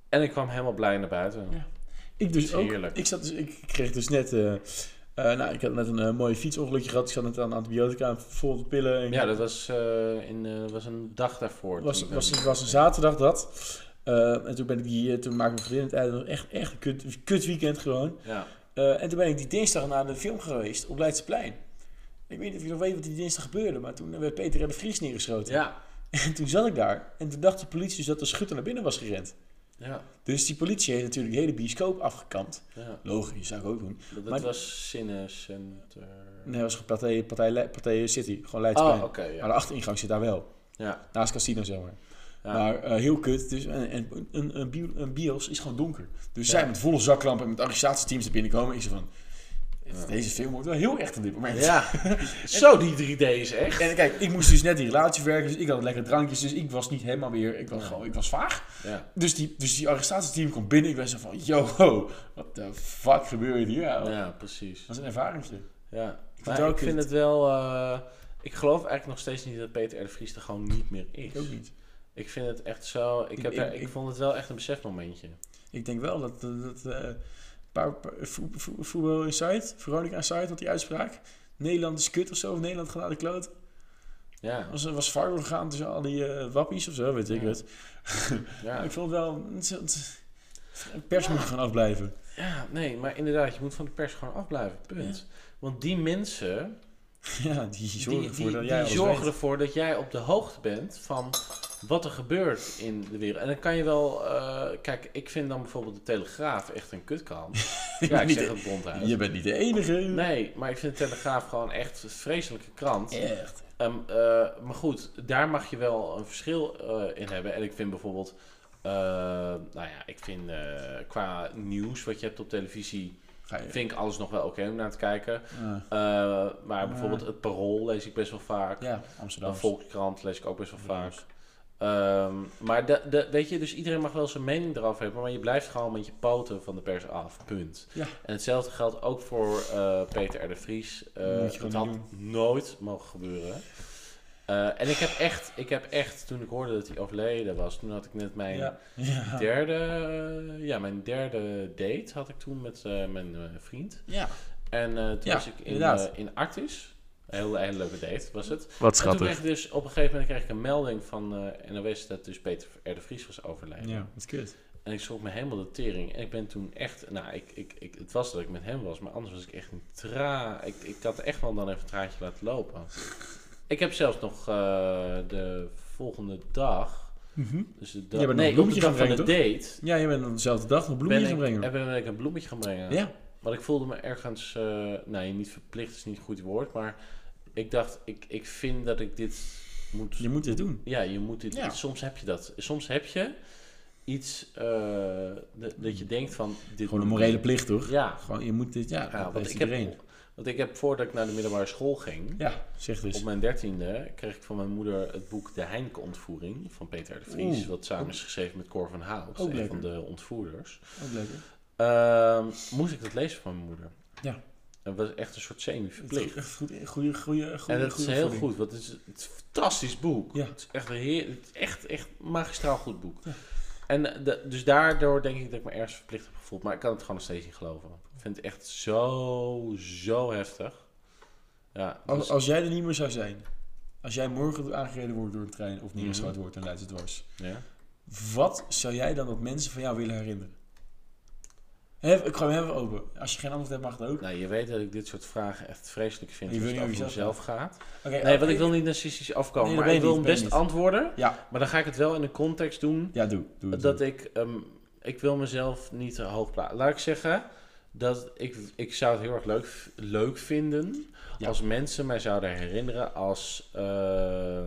Speaker 2: En ik kwam helemaal blij naar buiten.
Speaker 1: Ja. Ik dus
Speaker 2: Is
Speaker 1: ook.
Speaker 2: heerlijk.
Speaker 1: Ik, zat dus, ik kreeg dus net... eh, eh, nou, ik had net een eh, mooie fietsongelukje gehad. Ik zat net aan antibiotica en vol de pillen. En
Speaker 2: Ja, dat was, eh, in, eh, was een dag daarvoor.
Speaker 1: was,
Speaker 2: Toen, eh,
Speaker 1: was, was een zaterdag dat. Eh, en toen ben ik die, eh, toen maakte mijn vriendin het einde echt, echt een kut, kut weekend gewoon.
Speaker 2: ja.
Speaker 1: Eh, en toen ben ik die dinsdag naar de film geweest op Leidseplein. Ik weet niet of je nog weet wat die dinsdag gebeurde, maar toen werd Peter en de Vries neergeschoten.
Speaker 2: Ja.
Speaker 1: En toen zat ik daar en toen dacht de politie dus dat de schutter naar binnen was gerend.
Speaker 2: ja.
Speaker 1: Dus die politie heeft natuurlijk de hele bioscoop afgekant.
Speaker 2: ja.
Speaker 1: Logisch, zou ik ook doen.
Speaker 2: Dat, dat
Speaker 1: Maar-
Speaker 2: was Cinecenter.
Speaker 1: Nee, dat was partij, partij, Le- partij City, gewoon
Speaker 2: oh,
Speaker 1: Leidsplein.
Speaker 2: oké.
Speaker 1: Maar
Speaker 2: ja.
Speaker 1: de achteringang zit daar wel,
Speaker 2: ja.
Speaker 1: naast casino zeg maar.
Speaker 2: Ja.
Speaker 1: Maar eh, heel kut, dus, en, en, een, een, bio- een bios is gewoon donker. Dus
Speaker 2: Ja.
Speaker 1: zij met volle zaklampen en met arrestatieteams naar binnen komen. Ik zei van,
Speaker 2: Ja.
Speaker 1: deze film wordt wel heel echt op dit moment.
Speaker 2: Ja. Zo, die 3D is echt.
Speaker 1: (laughs) En kijk, ik moest dus net die relatie werken, dus ik had lekker drankjes, dus ik was niet helemaal weer, ik was,
Speaker 2: Ja.
Speaker 1: gewoon, ik was vaag.
Speaker 2: Ja.
Speaker 1: Dus die, dus die arrestatieteam komt binnen, ik ben zo van, yo, ho, what the fuck gebeurt hier? Ja, Dat
Speaker 2: ja, precies.
Speaker 1: was een ervaringje.
Speaker 2: Ja.
Speaker 1: vind het
Speaker 2: Maar
Speaker 1: wel
Speaker 2: ik vind
Speaker 1: kut.
Speaker 2: het wel... eh, ik geloof eigenlijk nog steeds niet dat Peter R. de Vries er gewoon niet meer is.
Speaker 1: Ik ook niet.
Speaker 2: Ik vind het echt zo... Ik,
Speaker 1: Ik-
Speaker 2: heb
Speaker 1: ik-
Speaker 2: er- ik
Speaker 1: ik-
Speaker 2: vond het wel echt een besefmomentje.
Speaker 1: Ik denk wel dat, dat, dat eh, paar, paar- vo- vo- voetbal Insight, Veronica Insight had die uitspraak. Nederland is kut of zo, of Nederland gaat naar de kloot.
Speaker 2: Ja.
Speaker 1: Als er was varken gegaan tussen al die eh, wappies of zo, weet ik
Speaker 2: Ja.
Speaker 1: het.
Speaker 2: Ja.
Speaker 1: Ik vond het wel, het, het- het pers moet er gewoon afblijven. (laughs)
Speaker 2: ja, nee, maar inderdaad. Je moet van de pers gewoon afblijven. Punt. Want die mensen...
Speaker 1: Ja, die zorgen
Speaker 2: die,
Speaker 1: ervoor
Speaker 2: die-
Speaker 1: dat
Speaker 2: die
Speaker 1: jij alles
Speaker 2: zorgen
Speaker 1: weet.
Speaker 2: ervoor dat jij op de hoogte bent van wat er gebeurt in de wereld. En dan kan je wel... eh, kijk, ik vind dan bijvoorbeeld de Telegraaf echt een
Speaker 1: (laughs)
Speaker 2: kutkant. ja, ik
Speaker 1: Niet
Speaker 2: zeg
Speaker 1: de-
Speaker 2: het ronduit.
Speaker 1: Je bent niet de enige.
Speaker 2: Nee, maar ik vind de Telegraaf gewoon echt een vreselijke krant.
Speaker 1: Echt.
Speaker 2: Ehm, eh, maar goed, daar mag je wel een verschil eh, in hebben. En ik vind bijvoorbeeld... eh, nou ja, ik vind eh, qua nieuws wat je hebt op televisie...
Speaker 1: Ga je.
Speaker 2: vind ik alles nog wel oké om naar te kijken.
Speaker 1: Ah,
Speaker 2: Eh, maar bijvoorbeeld het Parool lees ik best wel vaak.
Speaker 1: ja, Amsterdam.
Speaker 2: De Volkskrant lees ik ook best wel vaak. Ehm, maar de, de, weet je, dus iedereen mag wel zijn mening erover hebben, maar je blijft gewoon met je poten van de pers af. Punt.
Speaker 1: Ja.
Speaker 2: En hetzelfde geldt ook voor eh, Peter R. de Vries. Eh,
Speaker 1: Moet je gewoon
Speaker 2: het had
Speaker 1: niet
Speaker 2: nooit mogen gebeuren. Eh, en ik heb, echt, ik heb echt, toen ik hoorde dat hij overleden was, toen had ik net mijn
Speaker 1: Ja. Ja.
Speaker 2: derde, eh, ja, mijn derde date had ik toen met eh, mijn eh, vriend.
Speaker 1: ja.
Speaker 2: En eh, toen
Speaker 1: Ja,
Speaker 2: was ik in,
Speaker 1: inderdaad.
Speaker 2: eh, in Artis. Een hele, hele leuke date was het.
Speaker 3: Wat
Speaker 2: En toen
Speaker 3: schattig.
Speaker 2: kreeg ik dus op een gegeven moment kreeg ik een melding van eh NOS dat dus Peter R. de Vries was overleden.
Speaker 1: Ja, wat kut.
Speaker 2: En ik schrok me helemaal de tering. En ik ben toen echt, nou, ik, ik, ik, het was dat ik met hem was, maar anders was ik echt een tra. Ik, ik had echt wel dan even een traantje laten lopen. ik heb zelfs nog eh, de volgende dag, dus de dag,
Speaker 1: Jij bent nog een
Speaker 2: nee, op
Speaker 1: bloemetje
Speaker 2: de dag
Speaker 1: gaan
Speaker 2: van de date,
Speaker 1: Mhm. Ja, je bent dan dezelfde dag nog bloemen
Speaker 2: ben
Speaker 1: gaan
Speaker 2: ik,
Speaker 1: brengen.
Speaker 2: eh, ben ik een bloemetje gaan brengen.
Speaker 1: ja.
Speaker 2: Want ik voelde me ergens, eh, nee, niet verplicht is niet het goed woord, maar ik dacht, ik, ik vind dat ik dit moet.
Speaker 1: je moet dit doen.
Speaker 2: Ja, je moet dit.
Speaker 1: Ja.
Speaker 2: Soms heb je dat. Soms heb je iets eh, dat- dat je denkt van. Dit
Speaker 1: Gewoon een
Speaker 2: moet-
Speaker 1: morele plicht, toch?
Speaker 2: Ja,
Speaker 1: Gewoon, je moet dit, ja,
Speaker 2: ja
Speaker 1: dat
Speaker 2: want,
Speaker 1: heeft
Speaker 2: ik heb,
Speaker 1: iedereen.
Speaker 2: want ik heb voordat ik naar de middelbare school ging.
Speaker 1: Ja, zeg dus.
Speaker 2: Op mijn dertiende kreeg ik van mijn moeder het boek De Heinke Ontvoering van Peter R. de Vries.
Speaker 1: Oeh.
Speaker 2: wat samen is geschreven met Cor van Hout,
Speaker 1: Ook
Speaker 2: een
Speaker 1: lekker.
Speaker 2: van de ontvoerders.
Speaker 1: Ook lekker.
Speaker 2: Ehm, moest ik dat lezen van mijn moeder?
Speaker 1: Ja.
Speaker 2: Dat was echt een soort semi-verplicht.
Speaker 1: Goede, goede, goede, goede.
Speaker 2: En dat is heel goed, want het is, het is een fantastisch boek.
Speaker 1: Ja.
Speaker 2: Het is echt een heer, het is echt, echt een magistraal goed boek. En eh, da- dus daardoor denk ik dat ik me ergens verplicht heb gevoeld. Maar ik kan het gewoon nog steeds niet geloven. Ik vind het echt zo, zo heftig. Ja,
Speaker 1: Als,
Speaker 2: dus-
Speaker 1: als jij er niet meer zou zijn, als jij morgen aangereden wordt door een trein of
Speaker 2: Mhm.
Speaker 1: neergeschoten wordt en leidt het dwars,
Speaker 2: ja.
Speaker 1: wat zou jij dan dat mensen van jou willen herinneren? Hef, ik gooi hem even open. Als je geen antwoord hebt, mag het ook.
Speaker 2: Nou, je weet dat ik dit soort vragen echt vreselijk vind
Speaker 1: Je
Speaker 2: als
Speaker 1: wil
Speaker 2: het over
Speaker 1: niet over
Speaker 2: mezelf gaat.
Speaker 1: Oké,
Speaker 2: Nee,
Speaker 1: oké.
Speaker 2: want ik wil niet narcistisch afkomen,
Speaker 1: Nee, dat
Speaker 2: maar
Speaker 1: weet
Speaker 2: ik
Speaker 1: ik
Speaker 2: wil hem
Speaker 1: niet, dat
Speaker 2: best
Speaker 1: weet ik
Speaker 2: antwoorden.
Speaker 1: Ja,
Speaker 2: Maar dan ga ik het wel in de context doen
Speaker 1: ja, doe. doe,
Speaker 2: dat ik... ehm, ik wil mezelf niet te hoog plaatsen. Laat ik zeggen dat ik, ik zou het heel erg leuk, leuk vinden
Speaker 1: Ja.
Speaker 2: als mensen mij zouden herinneren als... eh,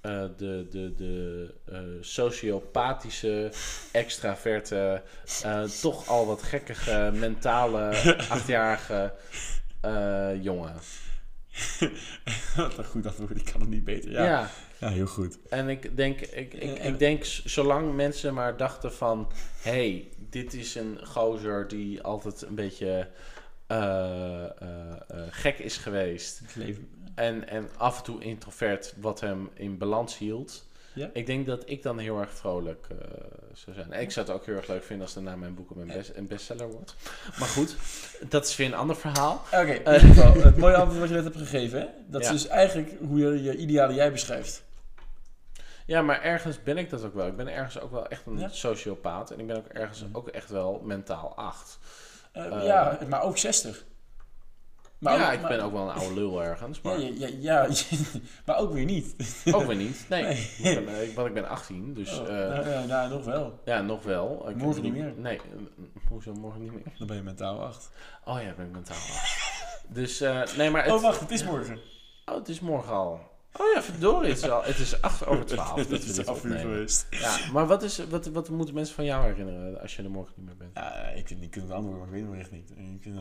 Speaker 2: eh, de de, de eh, sociopathische, extraverte,
Speaker 1: (laughs)
Speaker 2: eh, toch al wat gekkige, mentale, achtjarige eh, jongen.
Speaker 1: (laughs) Wat een goed antwoord, ik kan het niet beter. Ja, ja.
Speaker 2: ja.
Speaker 1: heel goed.
Speaker 2: En ik denk, ik, ik,
Speaker 1: En-
Speaker 2: ik denk, z- zolang mensen maar dachten van... hé, hey, dit is een gozer die altijd een beetje eh, eh, eh, gek is geweest...
Speaker 1: Het leven.
Speaker 2: En, en af en toe introvert, wat hem in balans hield...
Speaker 1: Ja.
Speaker 2: Ik denk dat ik dan heel erg vrolijk eh, zou zijn. En ik zou het ook heel erg leuk vinden als daarna mijn boek een, best, een bestseller wordt. Maar goed, dat is weer een ander verhaal.
Speaker 1: Oké,
Speaker 2: (laughs)
Speaker 1: in ieder geval, het mooie antwoord wat je net hebt gegeven, hè? dat
Speaker 2: Ja.
Speaker 1: is dus eigenlijk hoe je je ideale jij beschrijft.
Speaker 2: Ja, maar ergens ben ik dat ook wel. Ik ben ergens ook wel echt een
Speaker 1: Ja. Mhm.
Speaker 2: sociopaat. En ik ben ook ergens ook echt wel mentaal acht.
Speaker 1: Eh,
Speaker 2: Eh.
Speaker 1: ja, maar ook 60.
Speaker 2: ja,
Speaker 1: ook-
Speaker 2: ik ben ook wel een oude lul ergens,
Speaker 1: Ja,
Speaker 2: maar
Speaker 1: ja, ja, ja, (laughs) maar ook weer niet.
Speaker 2: ook weer niet. Nee,
Speaker 1: Nee.
Speaker 2: Ik ben, eh, ik- want ik ben 18, dus
Speaker 1: Oh,
Speaker 2: eh,
Speaker 1: nou, ja, nou, nog wel.
Speaker 2: ja, nog wel. Ik-
Speaker 1: Morgen niet meer.
Speaker 2: Nee, eh, hoezo morgen niet meer?
Speaker 1: Dan ben je mentaal 8.
Speaker 2: Oh ja, ben ik mentaal acht. (laughs) Dus eh, nee, maar het,
Speaker 1: Oh, wacht, het is morgen.
Speaker 2: oh, het is morgen al. Oh ja, verdorie, het is, al, het is 8 over 12. dat
Speaker 1: (laughs) Het
Speaker 2: we
Speaker 1: is
Speaker 2: dit
Speaker 1: af uur
Speaker 2: opnemen.
Speaker 1: geweest.
Speaker 2: Ja, maar wat, is, wat, wat moeten mensen van jou herinneren als je er morgen niet meer bent?
Speaker 1: Ja, ik vind, ik kan het antwoord, maar ik weet het nog echt niet. Ik vind,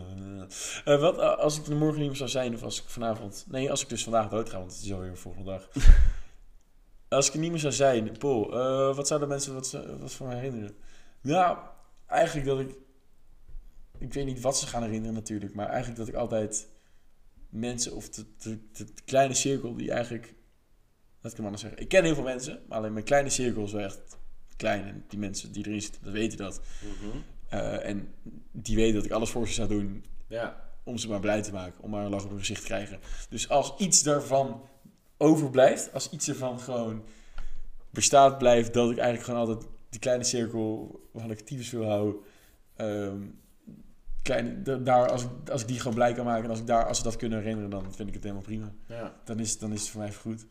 Speaker 1: eh, eh, wat eh, als ik er morgen niet meer zou zijn, of als ik vanavond... Nee, als ik dus vandaag dood ga, want het is alweer de volgende dag. als ik er niet meer zou zijn, Paul, eh, wat zouden mensen wat, ze- wat van me herinneren? Nou, eigenlijk dat ik... Ik weet niet wat ze gaan herinneren natuurlijk, maar eigenlijk dat ik altijd mensen of de, de, de kleine cirkel die eigenlijk... Laat ik hem anders zeggen. Ik ken heel veel mensen, maar alleen mijn kleine cirkel is wel echt klein. En die mensen die erin zitten, dat weten dat. Eh, en die weten dat ik alles voor ze zou doen
Speaker 2: Ja,
Speaker 1: om ze maar blij te maken. Om maar een lach op hun gezicht te krijgen. Dus als iets daarvan overblijft, als iets ervan gewoon bestaat blijft, dat ik eigenlijk gewoon altijd die kleine cirkel waarvan ik tyfus wil houden. ehm, kleine, da- daar, als, ik, als ik die gewoon blij kan maken en als, ik daar, als ze dat kunnen herinneren, dan vind ik het helemaal prima.
Speaker 2: ja,
Speaker 1: Dan is, dan is het voor mij goed.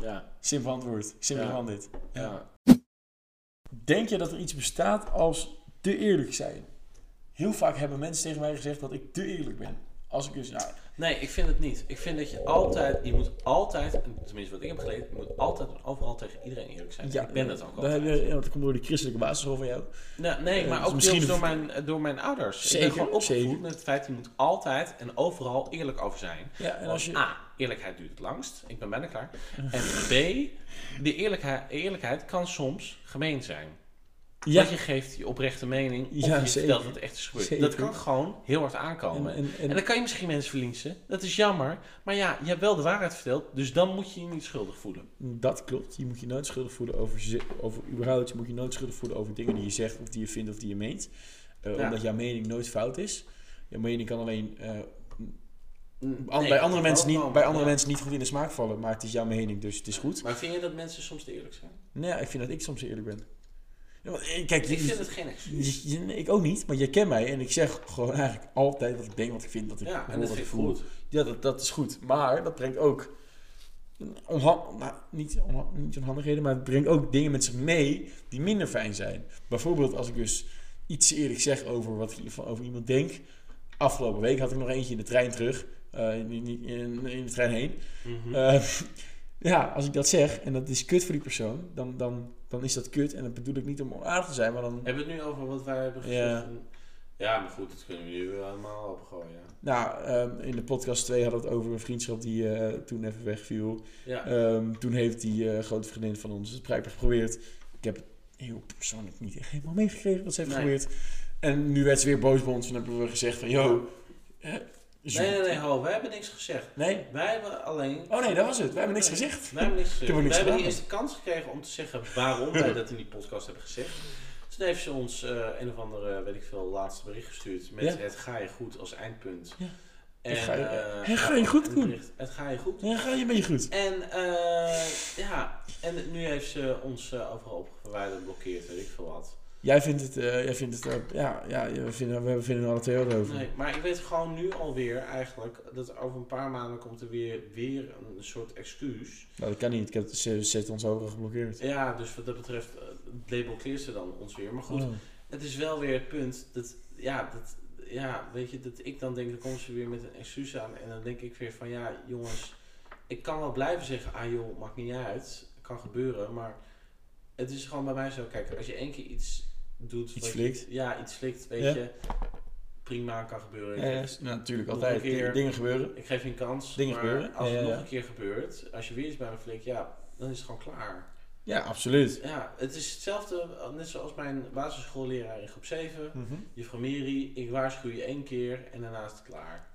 Speaker 2: ja.
Speaker 1: Simpel antwoord. Simpel
Speaker 2: Ja.
Speaker 1: man dit.
Speaker 2: Ja.
Speaker 1: Denk je dat er iets bestaat als te eerlijk zijn? Heel vaak hebben mensen tegen mij gezegd dat ik te eerlijk ben. Als ik dus, nou,
Speaker 2: Nee, ik vind het niet. Ik vind dat je altijd, je moet altijd, en tenminste wat ik heb geleerd, je moet altijd en overal tegen iedereen eerlijk zijn. ik ben dat ook
Speaker 1: dan heb
Speaker 2: altijd.
Speaker 1: je- ja, dat komt door die christelijke basisschool van jou.
Speaker 2: Nou, nee,
Speaker 1: eh,
Speaker 2: maar
Speaker 1: dus
Speaker 2: ook
Speaker 1: misschien-
Speaker 2: deels door mijn, eh, door mijn ouders. ik
Speaker 1: Zeker,
Speaker 2: ben gewoon opgevoed
Speaker 1: zeker.
Speaker 2: met het feit, je moet altijd en overal eerlijk over zijn.
Speaker 1: Ja, en Ah, als
Speaker 2: Want
Speaker 1: je,
Speaker 2: A, eerlijkheid duurt het langst. Ik ben bijna klaar. En B, de eerlijkheid, eerlijkheid kan soms gemeen zijn.
Speaker 1: ja,
Speaker 2: Dat je geeft je oprechte mening of
Speaker 1: Ja,
Speaker 2: je
Speaker 1: zeker.
Speaker 2: vertelt wat er echt is gebeurd.
Speaker 1: Zeker.
Speaker 2: Dat kan gewoon heel hard
Speaker 1: en,
Speaker 2: aankomen.
Speaker 1: en,
Speaker 2: En
Speaker 1: en,
Speaker 2: dan kan je misschien mensen verliezen. Dat is jammer. Maar ja, je hebt wel de waarheid verteld. Dus dan moet je je niet schuldig voelen.
Speaker 1: dat klopt. Je moet je nooit schuldig voelen over, ze- over überhaupt, je moet je nooit schuldig voelen over dingen die je zegt of die je vindt of die je meent. Eh,
Speaker 2: Ja.
Speaker 1: Omdat jouw mening nooit fout is. Je mening kan alleen eh, Mm, an-
Speaker 2: Nee,
Speaker 1: bij,
Speaker 2: dat
Speaker 1: andere mensen
Speaker 2: kan
Speaker 1: niet,
Speaker 2: ook,
Speaker 1: bij andere
Speaker 2: ja.
Speaker 1: mensen niet goed in de smaak vallen, maar het is jouw mening, dus het is goed.
Speaker 2: Maar vind je dat mensen soms te eerlijk zijn?
Speaker 1: Nee, ik vind dat ik soms eerlijk ben. Ja, want, eh, Kijk,
Speaker 2: Ik
Speaker 1: je-
Speaker 2: vind het geen excuus.
Speaker 1: je- je- nee, ik ook niet, maar je kent mij en ik zeg gewoon eigenlijk altijd wat ik denk, wat ik vind, dat ik
Speaker 2: Ja,
Speaker 1: hoor,
Speaker 2: en dat
Speaker 1: wat
Speaker 2: vind ik
Speaker 1: voel.
Speaker 2: goed.
Speaker 1: Ja, dat, dat is goed. Maar dat brengt ook onhan- nou, niet, onha- niet onhandigheden, maar het brengt ook dingen met zich mee die minder fijn zijn. Bijvoorbeeld als ik dus iets eerlijk zeg over wat ik van- over iemand denk. Afgelopen week had ik nog eentje in de trein terug, eh, in, in, in- in de trein heen.
Speaker 2: Mhm. Hm.
Speaker 1: Eh, (laughs) ja, als ik dat zeg en dat is kut voor die persoon, dan, dan, dan is dat kut. En dat bedoel ik niet om onaardig te zijn, maar dan...
Speaker 2: Hebben we het nu over wat wij hebben gezegd?
Speaker 1: Ja.
Speaker 2: Ja, maar goed, dat kunnen we nu weer allemaal opgooien. Ja.
Speaker 1: Nou, ehm, in de podcast 2 hadden we het over een vriendschap die eh, toen even wegviel.
Speaker 2: Ja.
Speaker 1: Ehm, toen heeft die eh, grote vriendin van ons het blijkbaar geprobeerd. Ik heb het heel persoonlijk niet echt helemaal meegekregen wat ze heeft
Speaker 2: Nee.
Speaker 1: geprobeerd. En nu werd ze weer boos bij ons en hebben we gezegd van... Yo, eh, zoek-
Speaker 2: nee, nee, nee, ho, wij hebben niks gezegd.
Speaker 1: Nee?
Speaker 2: Wij hebben alleen.
Speaker 1: Oh nee, dat was het. We hebben niks gezegd.
Speaker 2: Wij hebben niks gezegd.
Speaker 1: Ik heb ook
Speaker 2: Wij
Speaker 1: niks
Speaker 2: hebben niet
Speaker 1: gedaan.
Speaker 2: eens de kans gekregen om te zeggen waarom wij dat in die podcast hebben gezegd. Dus toen heeft ze ons eh, een of andere, weet ik veel, laatste bericht gestuurd met
Speaker 1: Ja.
Speaker 2: het ga je goed als eindpunt.
Speaker 1: Ja.
Speaker 2: En,
Speaker 1: Het ga je-
Speaker 2: eh,
Speaker 1: het ga je goed,
Speaker 2: een
Speaker 1: Koen.
Speaker 2: bericht, Het ga je goed.
Speaker 1: Ja, ga je ben je goed.
Speaker 2: En eh, ja, en nu heeft ze ons eh, overal op verwijderd, blokkeerd, weet ik veel wat.
Speaker 1: Jij vindt het, eh, jij vindt het eh, ja, ja je vinden, we vinden er alle twee wat over.
Speaker 2: Nee, maar ik weet gewoon nu alweer eigenlijk dat over een paar maanden komt er weer, weer een soort excuus.
Speaker 1: Nou, dat kan niet. Ik heb, ze zet ons overal geblokkeerd.
Speaker 2: Ja, dus wat dat betreft, eh, het label cleert ze dan ons weer. Maar goed,
Speaker 1: Oh.
Speaker 2: het is wel weer het punt dat, ja, dat, ja, weet je, dat ik dan denk, dan komt ze weer met een excuus aan. En dan denk ik weer van, ja, jongens, ik kan wel blijven zeggen, ah joh, maakt niet uit, kan gebeuren. Maar het is gewoon bij mij zo, kijk, als je één keer iets doet.
Speaker 1: Iets
Speaker 2: wat je-
Speaker 1: flikt.
Speaker 2: Ja, iets flikt, weet
Speaker 1: Ja.
Speaker 2: je. Prima, kan gebeuren.
Speaker 1: Ja, ja, s- nou, natuurlijk,
Speaker 2: Nog
Speaker 1: altijd.
Speaker 2: een keer.
Speaker 1: Dingen gebeuren.
Speaker 2: Ik geef je een kans.
Speaker 1: Dingen
Speaker 2: maar
Speaker 1: gebeuren.
Speaker 2: Als
Speaker 1: Ja,
Speaker 2: het
Speaker 1: ja,
Speaker 2: nog
Speaker 1: ja.
Speaker 2: een keer gebeurt, als je weer iets bij me flikt, ja, dan is het gewoon klaar.
Speaker 1: Ja, absoluut.
Speaker 2: Ja, het is hetzelfelde, net zoals mijn basisschoolleraar in groep 7. Juffrouw Miri, ik waarschuw je één keer en daarna is het
Speaker 1: (laughs)
Speaker 2: klaar.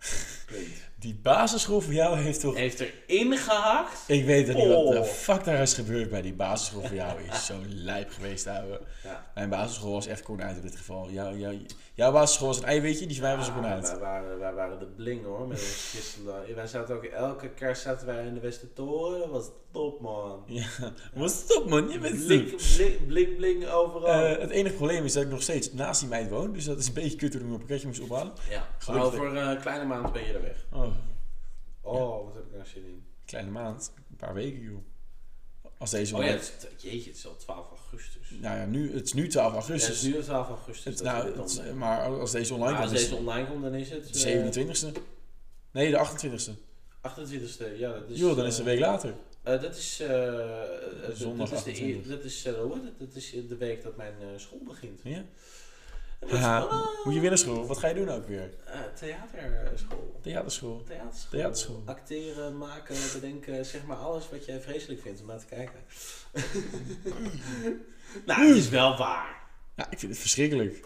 Speaker 2: Punt.
Speaker 1: Die basisschool voor jou heeft toch...
Speaker 2: Heeft erin gehakt.
Speaker 1: Ik weet dat niet wat de
Speaker 2: Oh.
Speaker 1: fuck daar is gebeurd bij die basisschool voor jou. Is zo lijp geweest, ouwe.
Speaker 2: Ja.
Speaker 1: Mijn basisschool was echt kornuit in dit geval. Jouw, jouw, jouw basisschool was een eiwitje, die van mij was een
Speaker 2: Ah,
Speaker 1: kornuit.
Speaker 2: wij, waren, wij waren de bling hoor, met
Speaker 1: (laughs)
Speaker 2: ons christendom. Wij zaten ook elke kerst zaten wij in de Westertoren. Dat was top man.
Speaker 1: Ja, maar stop man, je bent lief.
Speaker 2: Blik, blik, blik, blik overal.
Speaker 1: Eh, het enige probleem is dat ik nog steeds naast die meid woon, dus dat is een beetje kut toen ik mijn pakketje moest ophalen.
Speaker 2: ja, maar
Speaker 1: gelukkig.
Speaker 2: over eh, een kleine maand ben je er weg.
Speaker 1: Oh,
Speaker 2: Oh, wat heb ik nou zin in.
Speaker 1: kleine maand, een paar weken joh. Als deze
Speaker 2: Oh
Speaker 1: wel
Speaker 2: ja,
Speaker 1: uit-
Speaker 2: het is- jeetje, het is al 12 augustus.
Speaker 1: Nou ja, nu, het is nu 12
Speaker 2: Ja, het
Speaker 1: augustus.
Speaker 2: is nu al 12 augustus.
Speaker 1: Het-
Speaker 2: dat
Speaker 1: nou,
Speaker 2: we dit
Speaker 1: het-
Speaker 2: opnemen.
Speaker 1: maar als deze online
Speaker 2: Maar
Speaker 1: komt,
Speaker 2: als
Speaker 1: is
Speaker 2: deze online komt, dan is het...
Speaker 1: het
Speaker 2: eh,
Speaker 1: 27 e Nee, de 28 e
Speaker 2: 28e, ja, dat is...
Speaker 1: Joh, dan is
Speaker 2: eh,
Speaker 1: het een week later.
Speaker 2: eh, dat is... eh, eh,
Speaker 1: Zondag
Speaker 2: dat is, de,
Speaker 1: 28e.
Speaker 2: eer- dat, is, eh, hoe heet het? dat is de week dat mijn eh, school begint.
Speaker 1: Ja.
Speaker 2: En dat is-
Speaker 1: Haha,
Speaker 2: ah,
Speaker 1: moet je weer naar school? Wat ga je doen ook weer?
Speaker 2: eh, theaterschool.
Speaker 1: Theaterschool.
Speaker 2: Theaterschool.
Speaker 1: Theaterschool.
Speaker 2: Acteren, maken, bedenken, zeg maar alles wat jij vreselijk vindt om naar te kijken. (laughs) nou, het is wel waar.
Speaker 1: Ja, ik vind het verschrikkelijk.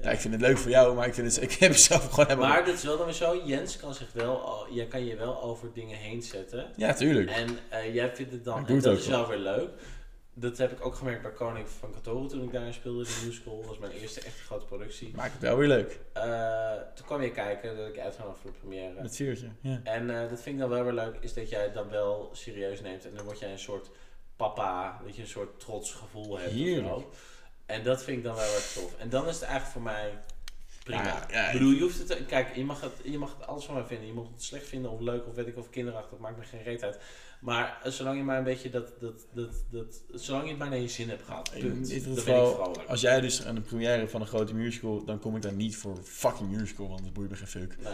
Speaker 1: Ja, ik vind het leuk voor jou, maar ik, vind het, ik heb zelf gewoon helemaal...
Speaker 2: Maar dat is wel dan weer zo. Jens kan zich wel, al- jij kan je wel over dingen heen zetten.
Speaker 1: Ja, tuurlijk.
Speaker 2: En eh, jij vindt het dan,
Speaker 1: Ik
Speaker 2: en
Speaker 1: doe het
Speaker 2: dat
Speaker 1: ook
Speaker 2: is
Speaker 1: wel.
Speaker 2: wel weer leuk. Dat heb ik ook gemerkt bij Koning van Katoren toen ik daar speelde. De musical Dat was mijn eerste echte grote productie.
Speaker 1: Maakt het wel weer leuk.
Speaker 2: Eh, toen kwam je kijken dat ik uitgenodigd voor de première.
Speaker 1: Met vuurtje. Ja.
Speaker 2: En eh, dat vind ik dan wel weer leuk, is dat jij het dan wel serieus neemt. En dan word jij een soort papa, dat je een soort trots gevoel hebt. of
Speaker 1: Heerlijk.
Speaker 2: zo. En dat vind ik dan wel weer tof. En dan is het eigenlijk voor mij prima.
Speaker 1: Ja, ja,
Speaker 2: ik bedoel, je hoeft het... Kijk, je mag het, je mag het alles van mij vinden. Je mag het slecht vinden of leuk of weet ik of kinderachtig. Dat maakt me geen reet uit. Maar eh, zolang je maar een beetje dat... dat, dat, dat zolang je het maar naar je zin hebt gehad.
Speaker 1: In
Speaker 2: Punt.
Speaker 1: dit
Speaker 2: Dan ben ik
Speaker 1: geval,
Speaker 2: vrolijk.
Speaker 1: als jij dus aan de première van een grote musical, dan kom ik daar niet voor fucking musical, want het boeit me geen fuck.
Speaker 2: Nee,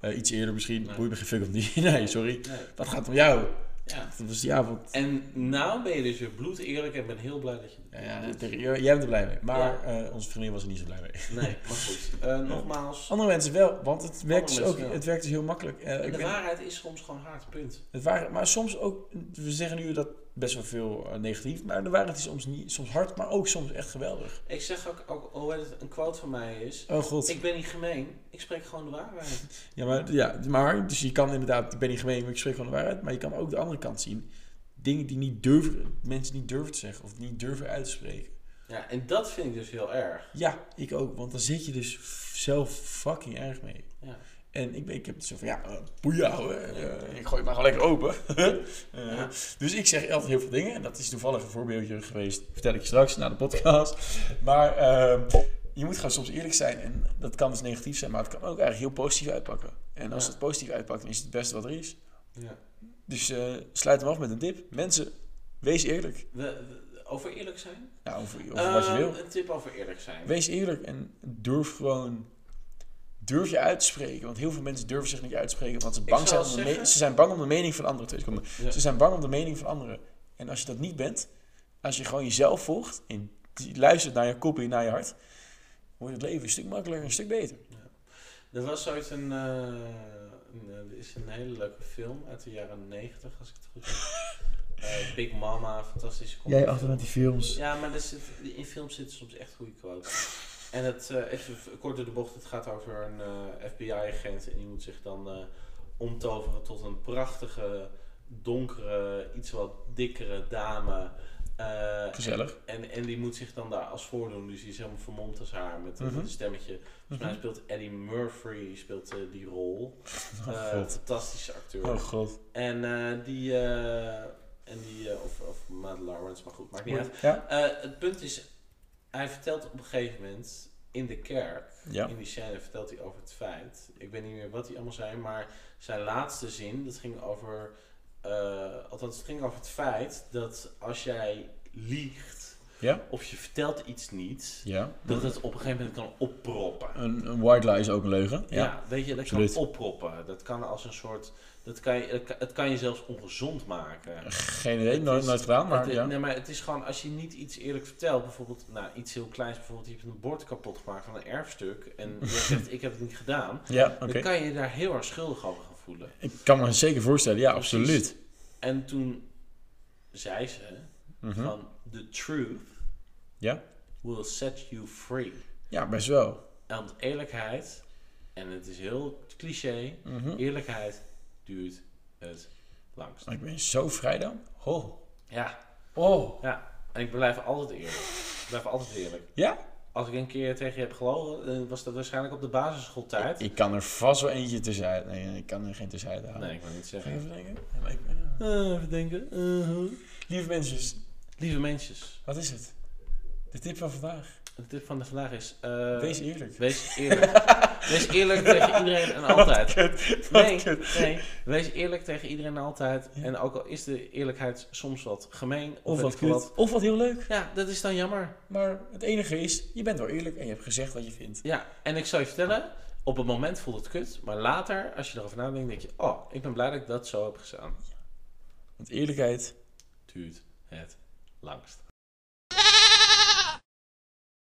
Speaker 1: Eh, iets eerder misschien,
Speaker 2: Nee.
Speaker 1: boeit me geen fuck om die. (laughs) Nee, sorry.
Speaker 2: nee.
Speaker 1: Dat gaat om jou.
Speaker 2: Ja.
Speaker 1: Dat was die avond.
Speaker 2: En nou ben je dus weer bloed eerlijk en ik ben heel blij dat je...
Speaker 1: Ja, ja, dat- jij bent er blij mee, maar
Speaker 2: Ja.
Speaker 1: eh, onze vriendin was er niet zo blij mee.
Speaker 2: Nee, maar goed. Eh, nogmaals,
Speaker 1: Andere mensen wel, want het werkt, dus
Speaker 2: mensen
Speaker 1: ook,
Speaker 2: wel.
Speaker 1: het werkt dus heel makkelijk. Eh, ik
Speaker 2: de
Speaker 1: weet-
Speaker 2: waarheid is soms gewoon hard, punt.
Speaker 1: het waren, maar soms ook, we zeggen nu dat best wel veel eh, negatief, maar de waarheid is dus soms, niet, soms hard, maar ook soms echt geweldig.
Speaker 2: Ik zeg ook, ook hoe heet het, een quote van mij is...
Speaker 1: Oh god.
Speaker 2: Ik ben niet gemeen, ik spreek gewoon de waarheid.
Speaker 1: Ja, maar, ja, maar dus je kan inderdaad, ik ben niet gemeen, maar ik spreek gewoon de waarheid, maar je kan ook de andere kant zien. Dingen die niet durven, mensen niet durven te zeggen of niet durven uit te spreken.
Speaker 2: Ja, en dat vind ik dus heel erg.
Speaker 1: Ja, ik ook, want dan zit je dus f- zelf fucking erg mee.
Speaker 2: Ja.
Speaker 1: En ik, ben- ik heb het zo van, ja, eh, boeia, hoor. Eh, ik gooi het maar gewoon lekker open. (laughs) Eh,
Speaker 2: Ja.
Speaker 1: Dus ik zeg altijd heel veel dingen. En dat is toevallig een voorbeeldje geweest. Vertel ik je straks na de podcast. Maar ehm, je moet gewoon soms eerlijk zijn. En dat kan dus negatief zijn, maar het kan ook eigenlijk heel positief uitpakken. En als
Speaker 2: Ja.
Speaker 1: het positief uitpakt, dan is het het beste wat er is.
Speaker 2: Ja.
Speaker 1: Dus eh, sluit hem af met een tip. Mensen, wees eerlijk.
Speaker 2: We, we- over eerlijk zijn?
Speaker 1: Nou, over, over wat je
Speaker 2: Eh,
Speaker 1: wil.
Speaker 2: Een tip over eerlijk zijn.
Speaker 1: Wees eerlijk en durf gewoon. Durf je uit te spreken. Want heel veel mensen durven zich niet uit te spreken. Want ze, bang zijn, om
Speaker 2: zou
Speaker 1: de me-
Speaker 2: zeggen-
Speaker 1: ze zijn bang om de mening van anderen. Twee seconden.
Speaker 2: Ja.
Speaker 1: Ze zijn bang om de mening van anderen. En als je dat niet bent, als je gewoon jezelf volgt. en die- luistert naar je kopie, naar je hart. wordt het leven een stuk makkelijker, een stuk beter.
Speaker 2: Er was ooit een, eh, een, eh, er is een hele leuke film uit de jaren 90, als ik het goed heb. Eh, Big Mama, fantastische comedy.
Speaker 1: die films.
Speaker 2: Ja, maar er zit, in films zitten soms echt goede quotes. En het, eh, even v- kort door de bocht, het gaat over een eh, FBI-agent en die moet zich dan eh, omtoveren tot een prachtige, donkere, iets wat dikkere dame. Eh,
Speaker 1: Gezellig.
Speaker 2: en, en die moet zich dan daar als voordoen, dus die is helemaal vermomd als haar met, een- met
Speaker 1: Mhm.
Speaker 2: een stemmetje. Volgens mij Dus nou speelt Eddie Murphy speelt, eh, die rol. Eh,
Speaker 1: Oh, god.
Speaker 2: fantastische acteur.
Speaker 1: Oh god.
Speaker 2: En eh, die, eh, en die eh, of, of Matt Lawrence, maar goed, maakt niet uit.
Speaker 1: Ja?
Speaker 2: Eh, het punt is, Hij vertelt op een gegeven moment in de kerk,
Speaker 1: Ja.
Speaker 2: in die scène vertelt hij over het feit, ik weet niet meer wat hij allemaal zei, maar zijn laatste zin, dat ging over, eh, althans het ging over het feit dat als jij liegt
Speaker 1: Ja?
Speaker 2: of je vertelt iets niet,
Speaker 1: Ja.
Speaker 2: dat het op een gegeven moment kan opproppen.
Speaker 1: Een, een white lie is ook een leugen.
Speaker 2: Ja,
Speaker 1: Ja.
Speaker 2: weet je, dat
Speaker 1: absoluut.
Speaker 2: kan opproppen. Dat kan als een soort, dat kan je, dat kan- het kan je zelfs ongezond maken.
Speaker 1: Geen idee, nooit,
Speaker 2: is-
Speaker 1: nooit gedaan, maar
Speaker 2: Het-
Speaker 1: ja.
Speaker 2: Nee, maar het is gewoon, als je niet iets eerlijk vertelt, bijvoorbeeld, nou, iets heel kleins, bijvoorbeeld, je hebt een bord kapot gemaakt van een erfstuk
Speaker 1: (laughs)
Speaker 2: en je zegt, ik heb het niet gedaan,
Speaker 1: Ja, oké.
Speaker 2: dan kan je je daar heel erg schuldig over gaan voelen.
Speaker 1: Ik kan me zeker voorstellen, ja,
Speaker 2: Precies.
Speaker 1: absoluut.
Speaker 2: En toen zei ze
Speaker 1: Mhm.
Speaker 2: van, the truth
Speaker 1: Ja?
Speaker 2: will set you free.
Speaker 1: Ja, best wel.
Speaker 2: Want eerlijkheid, en het is heel cliché,
Speaker 1: Mhm.
Speaker 2: eerlijkheid duurt het langst.
Speaker 1: Ik ben zo vrij dan. Oh.
Speaker 2: Ja,
Speaker 1: Oh.
Speaker 2: ja. En ik blijf altijd eerlijk. Ik blijf altijd eerlijk.
Speaker 1: Ja?
Speaker 2: Als ik een keer tegen je heb gelogen, dan was dat waarschijnlijk op de basisschooltijd.
Speaker 1: Ik kan er vast wel eentje tussenuit. Nee, ik kan er geen tussenuit halen.
Speaker 2: Nee, ik wil niet
Speaker 1: Ga je
Speaker 2: zeggen.
Speaker 1: even denken? Ja, maar ik ben, ja.
Speaker 2: Eh, even denken. Eh, huh.
Speaker 1: Lieve mensen, dus
Speaker 2: Lieve mensjes,
Speaker 1: wat is het? De tip van vandaag.
Speaker 2: de tip van de vandaag is... eh,
Speaker 1: Wees eerlijk. (laughs)
Speaker 2: wees eerlijk. wees eerlijk tegen iedereen en nou, altijd. Nee, nee, wees eerlijk tegen iedereen en altijd.
Speaker 1: Ja.
Speaker 2: En ook al is de eerlijkheid soms wat gemeen of,
Speaker 1: Of
Speaker 2: weet
Speaker 1: wat
Speaker 2: ik veel
Speaker 1: kut. Of wat heel leuk.
Speaker 2: Ja, dat is dan jammer.
Speaker 1: Maar het enige is, je bent wel eerlijk en je hebt gezegd wat je vindt.
Speaker 2: Ja, en ik zal je vertellen, op het moment voelt het kut. Maar later, als je erover nadenkt, denk je... Oh, ik ben blij dat ik dat zo heb gedaan.
Speaker 1: Want eerlijkheid
Speaker 2: Duurt het langst.